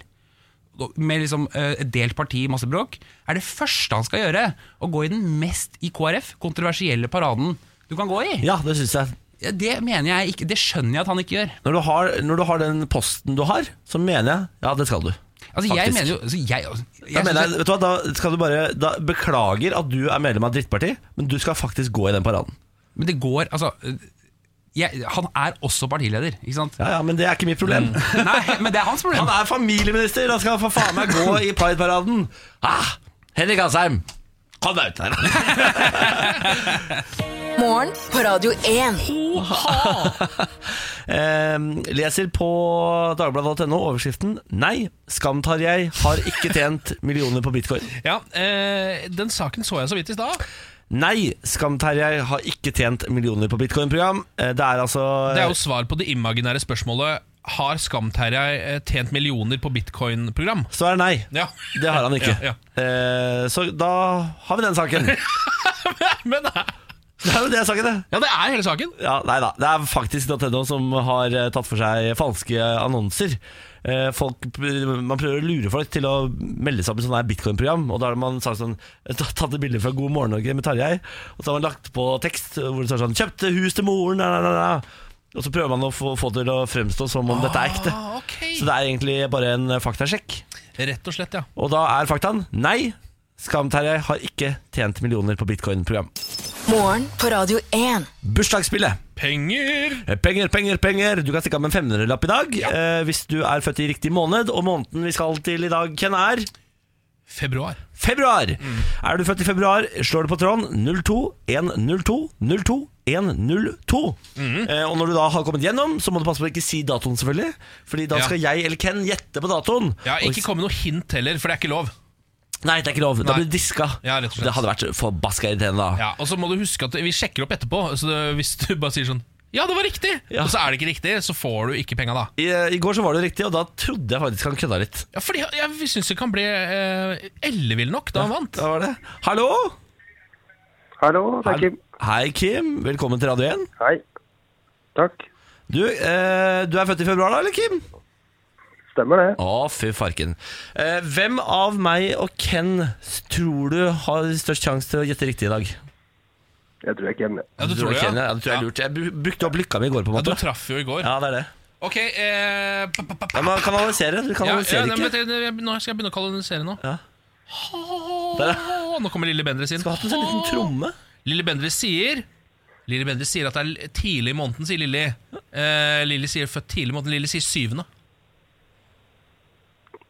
med liksom eh, et delt parti, masse bråk, er det første han skal gjøre å gå i den mest i KrF kontroversielle paraden du kan gå i.
Ja, det syns jeg.
Ja, Det mener jeg ikke, det skjønner jeg at han ikke gjør.
Når du, har, når du har den posten du har, så mener jeg ja, det skal du.
Altså, jeg
Faktisk.
mener jo altså, jeg, jeg,
Da, mener
synes
jeg, vet du hva, da skal du bare da, Beklager at du er medlem av et drittparti, men du skal faktisk gå i den paraden.
at- Men det går Altså, jeg, han er også partileder, ikke sant?
Ja, ja, Men det er ikke mitt problem.
Mm.
Nei, men det er hans problem.
Han er familieminister, han skal for faen meg gå i Pride-paraden. Ah, Henrik Asheim, kom deg ut der.
Morgen på Radio 1.
Eh, leser på dagbladet.no overskriften 'Nei, Skam-Tarjei har ikke tjent millioner på bitcoin'.
Ja, eh, Den saken så jeg så vidt i stad.
Nei, Skam-Tarjei har ikke tjent millioner på bitcoin-program. Eh, det er altså
Det er jo svar på det imaginære spørsmålet har Skam-Terje eh, tjent millioner på bitcoin-program?
Svaret er nei.
Ja.
Det har han ikke.
Ja,
Eh, så da har vi den saken. Det
Men eh,
er jo det saken, det.
ja, det er hele saken.
Ja, nei da. Det er faktisk Nintendo som har eh, tatt for seg falske annonser. Eh, Folk, man prøver å lure folk til å melde seg opp i sånne her bitcoin-program. Og da har man sagt sånn, tatt et bilde fra God morgen Norge med Tarjei, og så har man lagt på tekst hvor det står sånn 'Kjøpte hus til moren', da, da, da, da. Og så prøver man å få, få det til å fremstå som om dette er ekte.
Ah, ok.
Så det er egentlig bare en eh, faktasjekk.
Rett og slett, ja.
Og da er faktaen nei. Skam-Terje har ikke tjent millioner på bitcoin-program.
Morgen på Radio 1.
Bursdagsspillet.
Penger!
Penger, penger, penger. Du kan stikke av med en 500-lapp i dag eh, hvis du er født i riktig måned. Og måneden vi skal til i dag, Ken, er
Februar.
februar.
Mm.
Er du født i februar, slår du på tråden 02-102-02. 102
Mm.
eh, Og når du da har kommet gjennom, så må du passe på å ikke si datoen, selvfølgelig. Fordi da
Ja.
skal jeg eller Ken gjette på datoen.
Ja,
Og
Ikke
hvis-
kom med noe hint heller, for det er ikke lov.
Nei, det er ikke lov. Da
Nei.
blir du diska.
Ja, rett og slett.
det hadde vært forbaska irriterende da.
Ja, og så må du huske at Vi sjekker opp etterpå. Så det, hvis du bare sier sånn Ja, det var riktig!
Ja.
Og så er det ikke riktig, så får du ikke penga da.
I, eh, I går så var det riktig, og da trodde jeg faktisk han kødda litt.
Ja, fordi jeg, jeg syns det kan bli eh, ellevill nok da han vant.
Da var det. Hallo!
Hallo, det er Kim.
Hei, Kim. Velkommen til Radio 1.
Hei. Takk.
Du, eh, du er født i februar, da, eller, Kim?
Stemmer det.
Å, fy farken. Eh, hvem av meg og Ken s- tror du har størst sjanse til å gjette riktig i dag?
Jeg tror jeg ikke hjemme.
Ja, du
det,
det,
Ken, ja. ja, det tror jeg er
Ja.
lurt. Jeg bru- brukte opp lykka mi i går, på en
Ja, du
måte.
traff jo i går.
Ja, det er det.
Ok, eh, pa, pa, pa, pa.
Ja, man kanaliserer. Du
Ja, ja,
kanaliserer
nei, men
ikke.
vet du, jeg- Nå skal jeg begynne å kolonisere nå.
Ja.
Åh,
Der,
nå kommer Lille Bendriss inn.
Du har hatt en sånn liten tromme.
Lille Bendriss sier Lille Bendriss sier at det er l- tidlig i måneden, sier Lilly. Eh, Lilly sier født tidlig i måneden. Lilly sier syvende.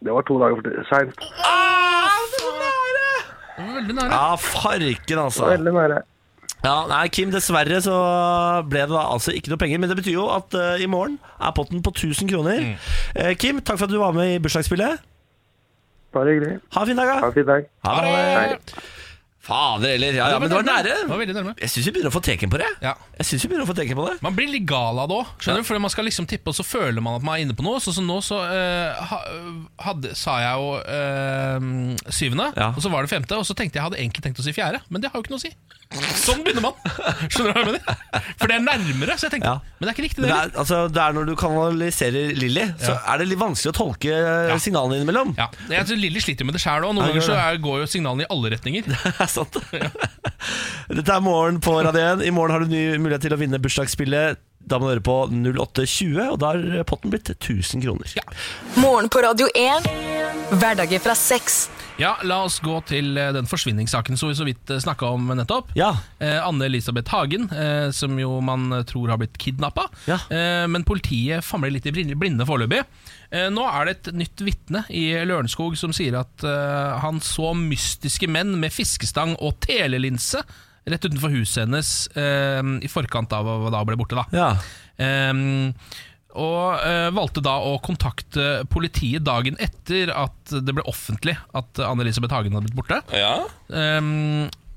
Det var to dager for seint.
Det var veldig nære.
Ja, farken, altså.
Veldig nære.
Ja, nei, Kim, dessverre så ble det da altså ikke noe penger. Men det betyr jo at eh, i morgen er potten på 1000 kroner. Eh, Kim, takk for at du var med i bursdagsspillet.
Bare hyggelig.
Ha en fin dag,
Ha
da.
en fin dag.
Ha det.
Hei.
Fader heller. Ja, ja, men det var
Det
nære.
var veldig nærme.
Jeg syns vi begynner å få teken på det.
Ja.
Jeg synes vi begynner å få teken på det
Man blir litt gala da, skjønner du? Fordi man skal liksom tippe, og så føler man at man er inne på noe. Sånn som nå, så eh, ha- hadde, sa jeg jo eh, syvende,
Ja.
og så var det femte, og så tenkte jeg jeg hadde egentlig tenkt å si fjerde, men det har jo ikke noe å si. Sånn begynner man. Skjønner du hva jeg mener? For det er nærmere, så jeg tenkte
Ja.
Men det er ikke riktig,
Men
det.
det
heller.
er, altså, det er når du kanaliserer Lilly, så er det litt vanskelig å tolke eh, signalene innimellom.
Ja. Jeg tror Lilly sliter med det sjæl òg.
Ja,
Noen ganger så
gjør
er, går jo signalene i alle retninger.
Det er sant. Dette er morgen på Radio 1. I morgen har du ny mulighet til å vinne bursdagsspillet. Da må du høre på 0820, og da har potten blitt 1000 kroner.
Morgen på Radio 1. Hverdager fra seks.
Ja, La oss gå til eh, den forsvinningssaken som vi så vidt snakka om nettopp.
Ja.
Eh, Anne-Elisabeth Hagen, eh, som jo man eh, tror har blitt kidnappa.
Ja.
Eh, men politiet famler litt i blinde, blinde foreløpig. Eh, nå er det et nytt vitne i Lørenskog som sier at eh, han så mystiske menn med fiskestang og telelinse rett utenfor huset hennes eh, i forkant av hva da ble borte. da
Ja.
Ehm, og eh, valgte da å kontakte politiet dagen etter at det ble offentlig at Anne-Elisabeth Hagen hadde blitt borte. Ehm,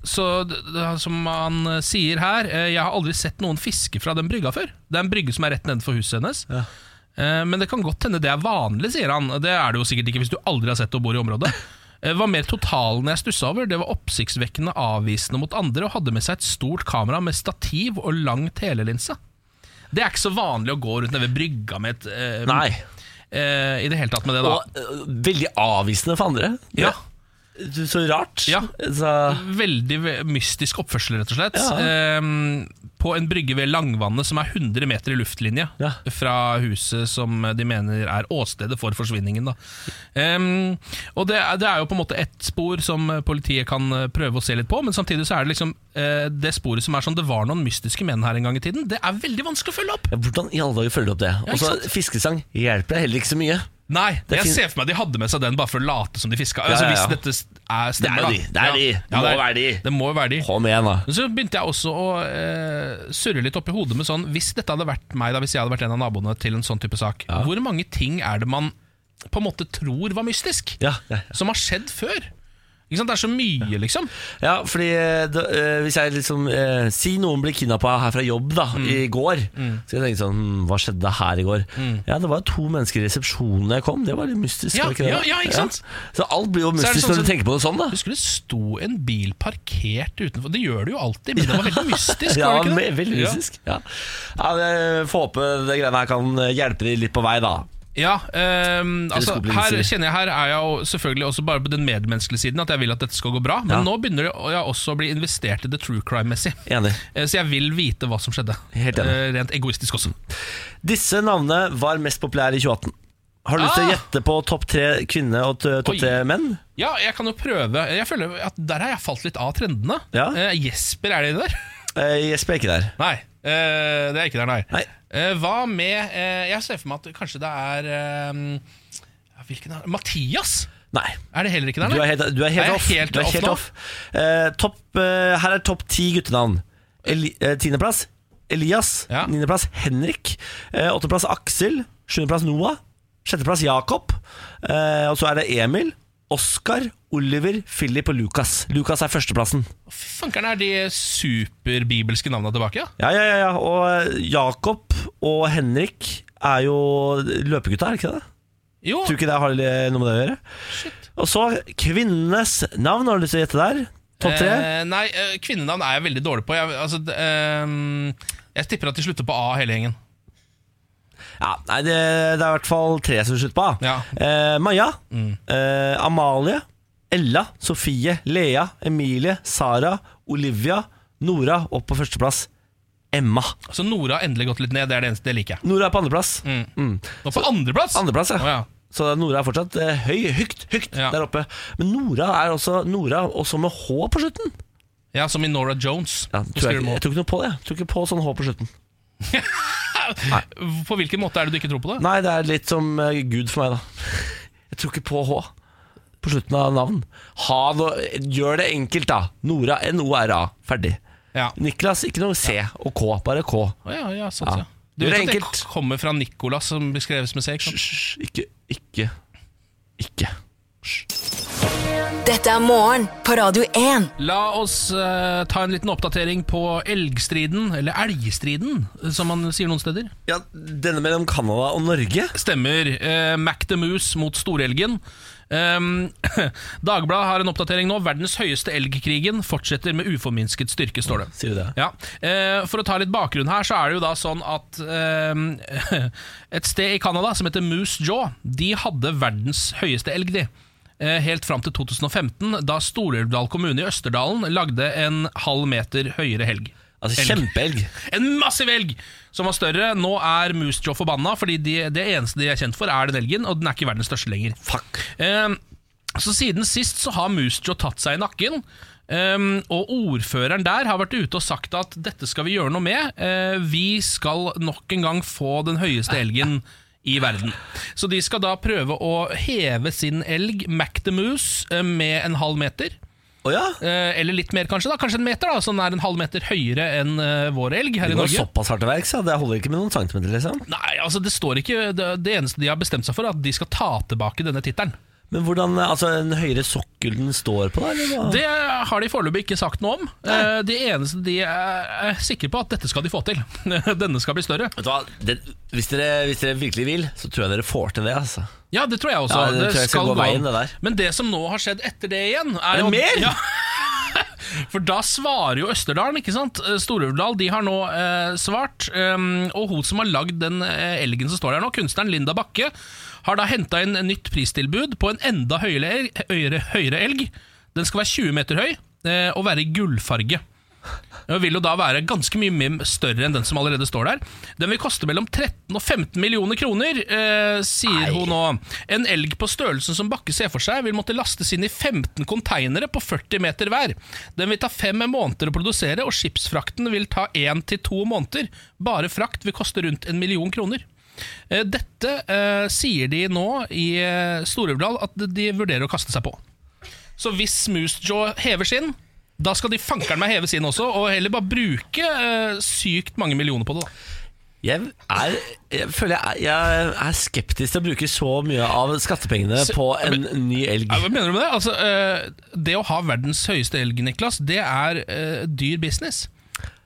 så d- d- som han eh, sier her, eh, jeg har aldri sett noen fiske fra den brygga før. Det er en brygge som er rett nedenfor huset hennes. Eh, Men det kan godt hende det er vanlig, sier han. Det er det jo sikkert ikke hvis du aldri har sett det og bor i området. Eh, var mer totalen jeg stussa over. Det var oppsiktsvekkende avvisende mot andre og hadde med seg et stort kamera med stativ og lang telelinse. Det er ikke så vanlig å gå rundt nede ved brygga med et eh,
Nei.
eh, I det hele tatt med det, da.
Og eh, veldig avvisende for andre.
Ja.
Du, Så rart.
Ja.
Så,
Veldig ve- mystisk oppførsel, rett og slett.
Ja.
Ehm, på en brygge ved Langvannet som er 100 meter i luftlinje
Ja.
fra huset som de mener er åstedet for forsvinningen. Da. Ehm, og det er, det er jo på en måte ett spor som politiet kan eh, prøve å se litt på, men samtidig så er det liksom eh, det sporet som er sånn det var noen mystiske menn her en gang i tiden. Det er veldig vanskelig å følge opp!
ja, hvordan i alle dager følger du opp det? Og så
sant?
fiskesang hjelper deg heller ikke så mye.
Nei,
Det er
jeg
fin-
ser for meg de hadde med seg den bare for å late som de fiska.
Ja,
Altså,
ja,
hvis
ja.
dette s- er
Det er
stemmer,
de, det er
da.
de. Det må være de.
Det må jo være de.
Kom igjen, da.
Men så begynte jeg også å eh, surre litt oppi hodet med sånn Hvis dette hadde vært meg, da, hvis jeg hadde vært en av naboene til en sånn type sak, hvor mange ting er det man på en måte tror var mystisk?
Ja, ja, ja.
Som har skjedd før? Ikke sant? Det er så mye, liksom.
Ja, fordi eh, da, eh, hvis jeg liksom eh, Si noen blir kidnappa her fra jobb da
Mm.
i går. Så jeg tenke sånn hm, Hva skjedde her i går? Ja, det var to mennesker i resepsjonen da jeg kom. Det var litt mystisk.
Mm. Ja,
var ikke det
ja,
da?
ja, ikke sant?
Så alt blir jo
er det
mystisk
sånn
når du
som-
tenker på det sånn, da.
Husker du det sto en bil parkert utenfor? Det gjør det jo alltid, men det var veldig mystisk.
Ja,
var det ikke det?
ve- veldig
Ja.
mystisk. Ja. Ja. men jeg får håpe det greiene her kan eh, hjelpe de litt på vei, da.
Ja, ehm, altså her
Teleskoplinser.
kjenner jeg her er jeg jo selvfølgelig også bare på den medmenneskelige siden at jeg vil at dette skal gå bra, men
Ja.
nå begynner det å- jeg også å bli investert i det true crime-messig.
Enig.
Eh, Så jeg vil vite hva som skjedde.
Helt enig.
Eh, Rent egoistisk også.
Disse navnene var mest populære i 2018. Har du lyst til å
Ah!
gjette på topp tre kvinner og t-
Oi.
topp tre menn?
Ja, jeg kan jo prøve. Jeg føler at Der har jeg falt litt av trendene.
Ja.
Eh, Jesper, er det der?
Eh, Jesper er ikke der.
Nei, eh, det er ikke der, nei.
Nei.
Eh, hva med eh, Jeg ser for meg at kanskje det er eh, ja, Hvilken er Mathias?
Nei.
Er det heller ikke der,
Du
nei?
er helt, du er
Er
helt
jeg
off.
helt
du er
off
helt
nå?
off. Eh, topp, eh, her er topp ti guttenavn. Eli, eh, tiendeplass Elias.
Ja.
Niendeplass Henrik. Eh, åttendeplass Aksel. Sjuendeplass Noah. Sjetteplass Jakob. Eh, og så er det Emil, Oskar, Oliver, Philip og Lukas. Lukas er førsteplassen.
Fy fankeren, er de superbibelske navna tilbake? Ja?
Ja, ja, ja, ja. Og eh, Jakob og Henrik er jo løpegutta, er det ikke det?
Jo,
Tror ikke det har noe med det å gjøre.
shit.
Og så kvinnenes navn, har du lyst til å gjette der? Topp tre?
Eh, nei, eh, kvinnenavn er jeg veldig dårlig på. Jeg, altså, d- ehm, jeg tipper at de slutter på A, hele gjengen.
Ja, nei, det, det er i hvert fall tre som slutter på A.
Ja. Mm.
Eh, Maja, eh, Amalie, Ella, Sofie, Lea, Emilie, Sara, Olivia, Nora og på førsteplass Emma.
Så Nora har endelig gått litt ned. Det er det eneste, det liker jeg.
Nora er på andreplass. Mm.
Nå på andreplass!
Andreplass, ja.
Mm. Å, ja.
Så Nora er fortsatt eh, høy, høyt, høyt
Ja.
der oppe. Men Nora er også Nora, også med H på slutten.
ja, som i Nora Jones.
Ja,
Hun
tror jeg,
skriver
ikke- jeg
mål.
tror ikke noe på det. Jeg tror ikke på sånn H på slutten.
På hvilken måte er det du ikke tror på det?
Nei, det er litt som eh, Gud for meg, da. Jeg tror ikke på H på slutten av navn. Ha noe, gjør det enkelt, da. Nora, N-O-R-A. Ferdig.
Ja.
Niklas, ikke noe C og K, bare K.
Å, ja, ja, sånn,
Ja.
ja. Du
Det
vet
er
at det
enkelt.
k- kommer fra Nicolas, som beskreves med C? ikke sant?
Hysj, ikke, ikke, ikke. Hysj.
Dette er morgen på Radio 1.
La oss eh, ta en liten oppdatering på elgstriden, eller elgstriden, eh, som man sier noen steder.
Ja, denne mellom Canada og Norge?
Stemmer. Eh, Mac the Moose mot storelgen. Um, Dagbladet har en oppdatering nå. Verdens høyeste elgkrigen fortsetter med uforminsket styrke, står det.
Sier du det?
Ja. Eh, for å ta litt bakgrunn her, så er det jo da sånn at eh, et sted i Canada som heter Moose Jaw, de hadde verdens høyeste elg, de. Eh, Helt fram til 2015, da Stor-Elvdal kommune i Østerdalen lagde en halv meter høyere helg.
Altså,
Elg.
kjempeelg.
En massiv elg som var større. Nå er Moose Jaw forbanna, fordi de, det eneste de er kjent for, er den elgen, og den er ikke verdens største lenger.
Fuck.
Ehm, så siden sist så har Moose Jaw tatt seg i nakken. ehm, og ordføreren der har vært ute og sagt at dette skal vi gjøre noe med. Eh, vi skal nok en gang få den høyeste elgen i verden. Så de skal da prøve å heve sin elg, Mac the Moose, eh, med en halv meter.
Å ja?
Eh, eller litt mer, kanskje. da Kanskje en meter, da så den er en halv meter høyere enn eh, vår elg her
Det
i
går
Norge.
såpass hardt til verks, ja. Det holder ikke med noen centimeter, liksom.
Nei, altså det står ikke Det, det eneste de har bestemt seg for, er at de skal ta tilbake denne tittelen.
Men hvordan eh, altså, en høyere sokkel den står på, da? Eller hva?
Det har de foreløpig ikke sagt noe om. Eh, Det eneste de er, er sikre på, at dette skal de få til. Denne skal bli større.
Vet du hva? Det, hvis, dere, hvis dere virkelig vil, så tror jeg dere får til det, altså.
Ja, det tror jeg også.
Ja, det tror jeg skal gå
an.
veien, det der.
Men det som nå har skjedd etter det igjen Er,
det
jo-
mer?
Ja. For da svarer jo Østerdalen, ikke sant? Eh, Stor-Elvdal de har nå eh, svart. ehm, og hun som har lagd den eh, elgen som står der nå, kunstneren Linda Bakke, har da henta inn et nytt pristilbud på en enda høyere elg. Høyere, høyere elg. Den skal være 20 meter høy eh, og være i gullfarge. Den vil jo da være ganske mye mer større enn den som allerede står der. Den vil koste mellom 13 og 15 millioner kroner, eh, sier hun nå. En elg på størrelsen som Bakke ser for seg, vil måtte lastes inn i 15 konteinere på 40 meter hver. Den vil ta fem måneder å produsere, og skipsfrakten vil ta én til to måneder. Bare frakt vil koste rundt en million kroner. Eh, Dette eh, sier de nå i eh, Stor-Elvdal at de vurderer å kaste seg på. Så hvis Moose Jaw hever sin, da skal de fankeren meg heve sin også, og heller bare bruke eh, sykt mange millioner på det. da
Jeg, er, jeg føler jeg er, jeg er skeptisk til å bruke så mye av skattepengene på en ny elg.
Ja, Hva mener du med det? Altså, eh, det å ha verdens høyeste elg, Niklas, det er eh, dyr business.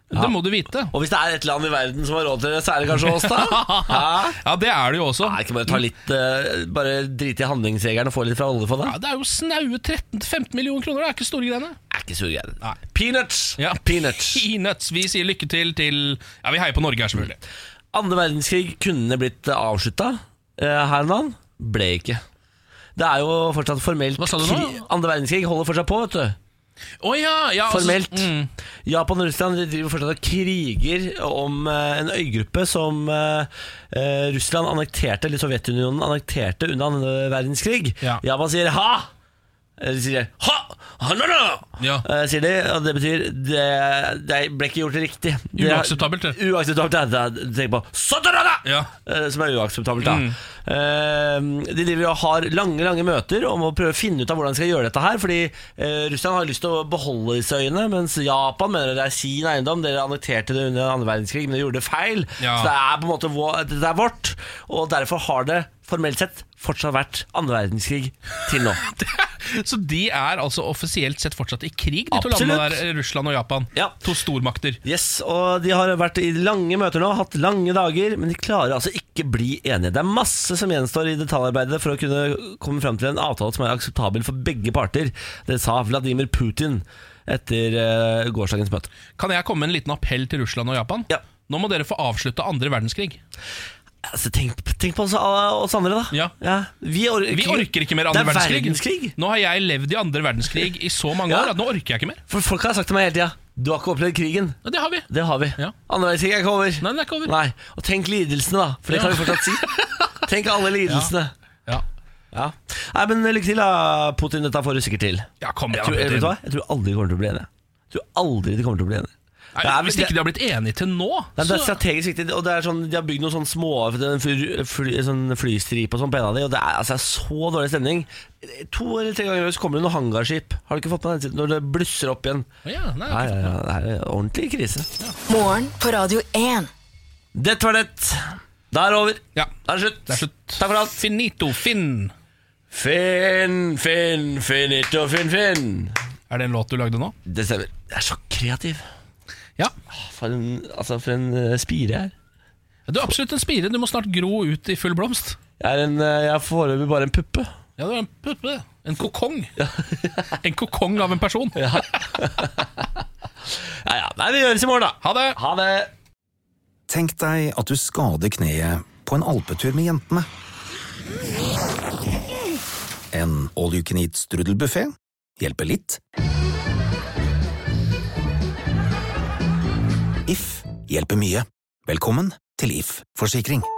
Det må du vite.
Og hvis det er et land i verden som har råd til det, så er det kanskje oss, da? Hæ?
Ja, det er det jo også.
Nei, ikke bare ta litt eh, Bare drite i handlingsjegeren og få litt fra oljefondet?
Ja, det er jo snaue 13-15 millioner kroner, det er ikke store greiene.
Det er ikke sure greier. Peanuts!
Ja.
Peanuts.
Peanuts. Vi sier lykke til til Ja, vi heier på Norge her, selvfølgelig.
Andre verdenskrig kunne blitt avslutta her om dagen. Ble ikke. Det er jo fortsatt formelt
Hva sa du nå?
krig- Andre verdenskrig holder fortsatt på, vet du.
Å ja, ja, altså-
Formelt.
mm.
Japan og Russland de driver fortsatt og kriger om eh, en øygruppe som eh, eh, Russland annekterte, eller Sovjetunionen annekterte under andre verdenskrig.
Ja.
Japan sier ha! Eller sier ha! ha no, no!
Ja.
Eh, sier de, og det betyr det, det ble ikke gjort riktig. Det-
Uakseptabelt, det.
Uakseptabelt, det er det. Tenk på Sotorada!
Ja. Mm.
Eh, Som er uakseptabelt, da. Eh, De driver og har lange lange møter om å prøve å finne ut av hvordan de skal gjøre dette her. Fordi eh, Russland har lyst til å beholde disse øyene, mens Japan mener det er sin eiendom. Dere annekterte det under andre verdenskrig, men dere gjorde det feil.
Ja.
Så det er på en måte vår, det er vårt. Og derfor har det formelt sett fortsatt vært andre verdenskrig til nå.
Så de er altså offisielt sett fortsatt i krig, de to
Absolutt.
landene der, Russland og Japan.
Ja.
To stormakter.
Yes, og De har vært i lange møter nå, hatt lange dager, men de klarer altså ikke bli enige. Det er masse som gjenstår i detaljarbeidet for å kunne komme fram til en avtale som er akseptabel for begge parter. Det sa Vladimir Putin etter eh, gårsdagens møte.
Kan jeg komme med en liten appell til Russland og Japan?
Ja.
Nå må dere få avslutta andre verdenskrig.
Altså, tenk, tenk på oss, eh, oss andre, da.
Ja.
vi, or
Vi orker ikke mer andre
det er
verdenskrig.
verdenskrig.
Nå har jeg levd i andre verdenskrig i så mange
Ja.
år at nå orker jeg ikke mer.
For Folk har sagt til meg hele tida Du har ikke opplevd krigen.
Ja, det har vi.
Det har vi.
Ja.
Andre verdenskrig er ikke over.
Nei, den er ikke over.
Nei, Og tenk lidelsene, da. For det kan vi fortsatt si. Tenk alle lidelsene.
Ja.
Ja. Nei, men eh, lykke til da, Putin. Dette får du sikkert til.
Ja, kom
Jeg
igjen,
tror, jeg, vet
Putin.
du hva? jeg tror aldri de kommer til å bli enige. Jeg tror aldri de kommer til å bli enige.
Nei,
Det er-
hvis ikke de har blitt enige til nå,
Nei, det er
så
strategisk viktig, og det er sånn, de har bygd noen sånne små en fly, fly, sånn flystripe og sånn på en av de, og det er altså så dårlig stemning. To eller tre ganger i år så kommer det noen hangarskip. Har du ikke fått med den siden? Når det blusser opp igjen.
ja, nei,
Nei, ja, ja, det er ordentlig krise.
Morgen på Radio 1.
Det var det. Da er det over.
Ja.
Da er det slutt.
Det er slutt.
Takk for alt.
Finito, Finn.
Finn, Finn, Finito, Finn, Finn.
Er det en låt du lagde nå?
Det stemmer. Jeg er så kreativ.
Ja.
For en, altså for en eh, spire jeg er.
Du er absolutt en spire. Du må snart gro ut i full blomst.
Jeg er, en, eh, jeg er foreløpig bare en puppe.
Ja, du er en puppe. En kokong. en kokong av en person.
Ja, ja. Nei, vi høres i morgen, da.
Ha det!
Ha det.
Tenk deg at du skader kneet på en alpetur med jentene. En all you can eat strudelbuffé hjelper litt. If hjelper mye. Velkommen til If forsikring.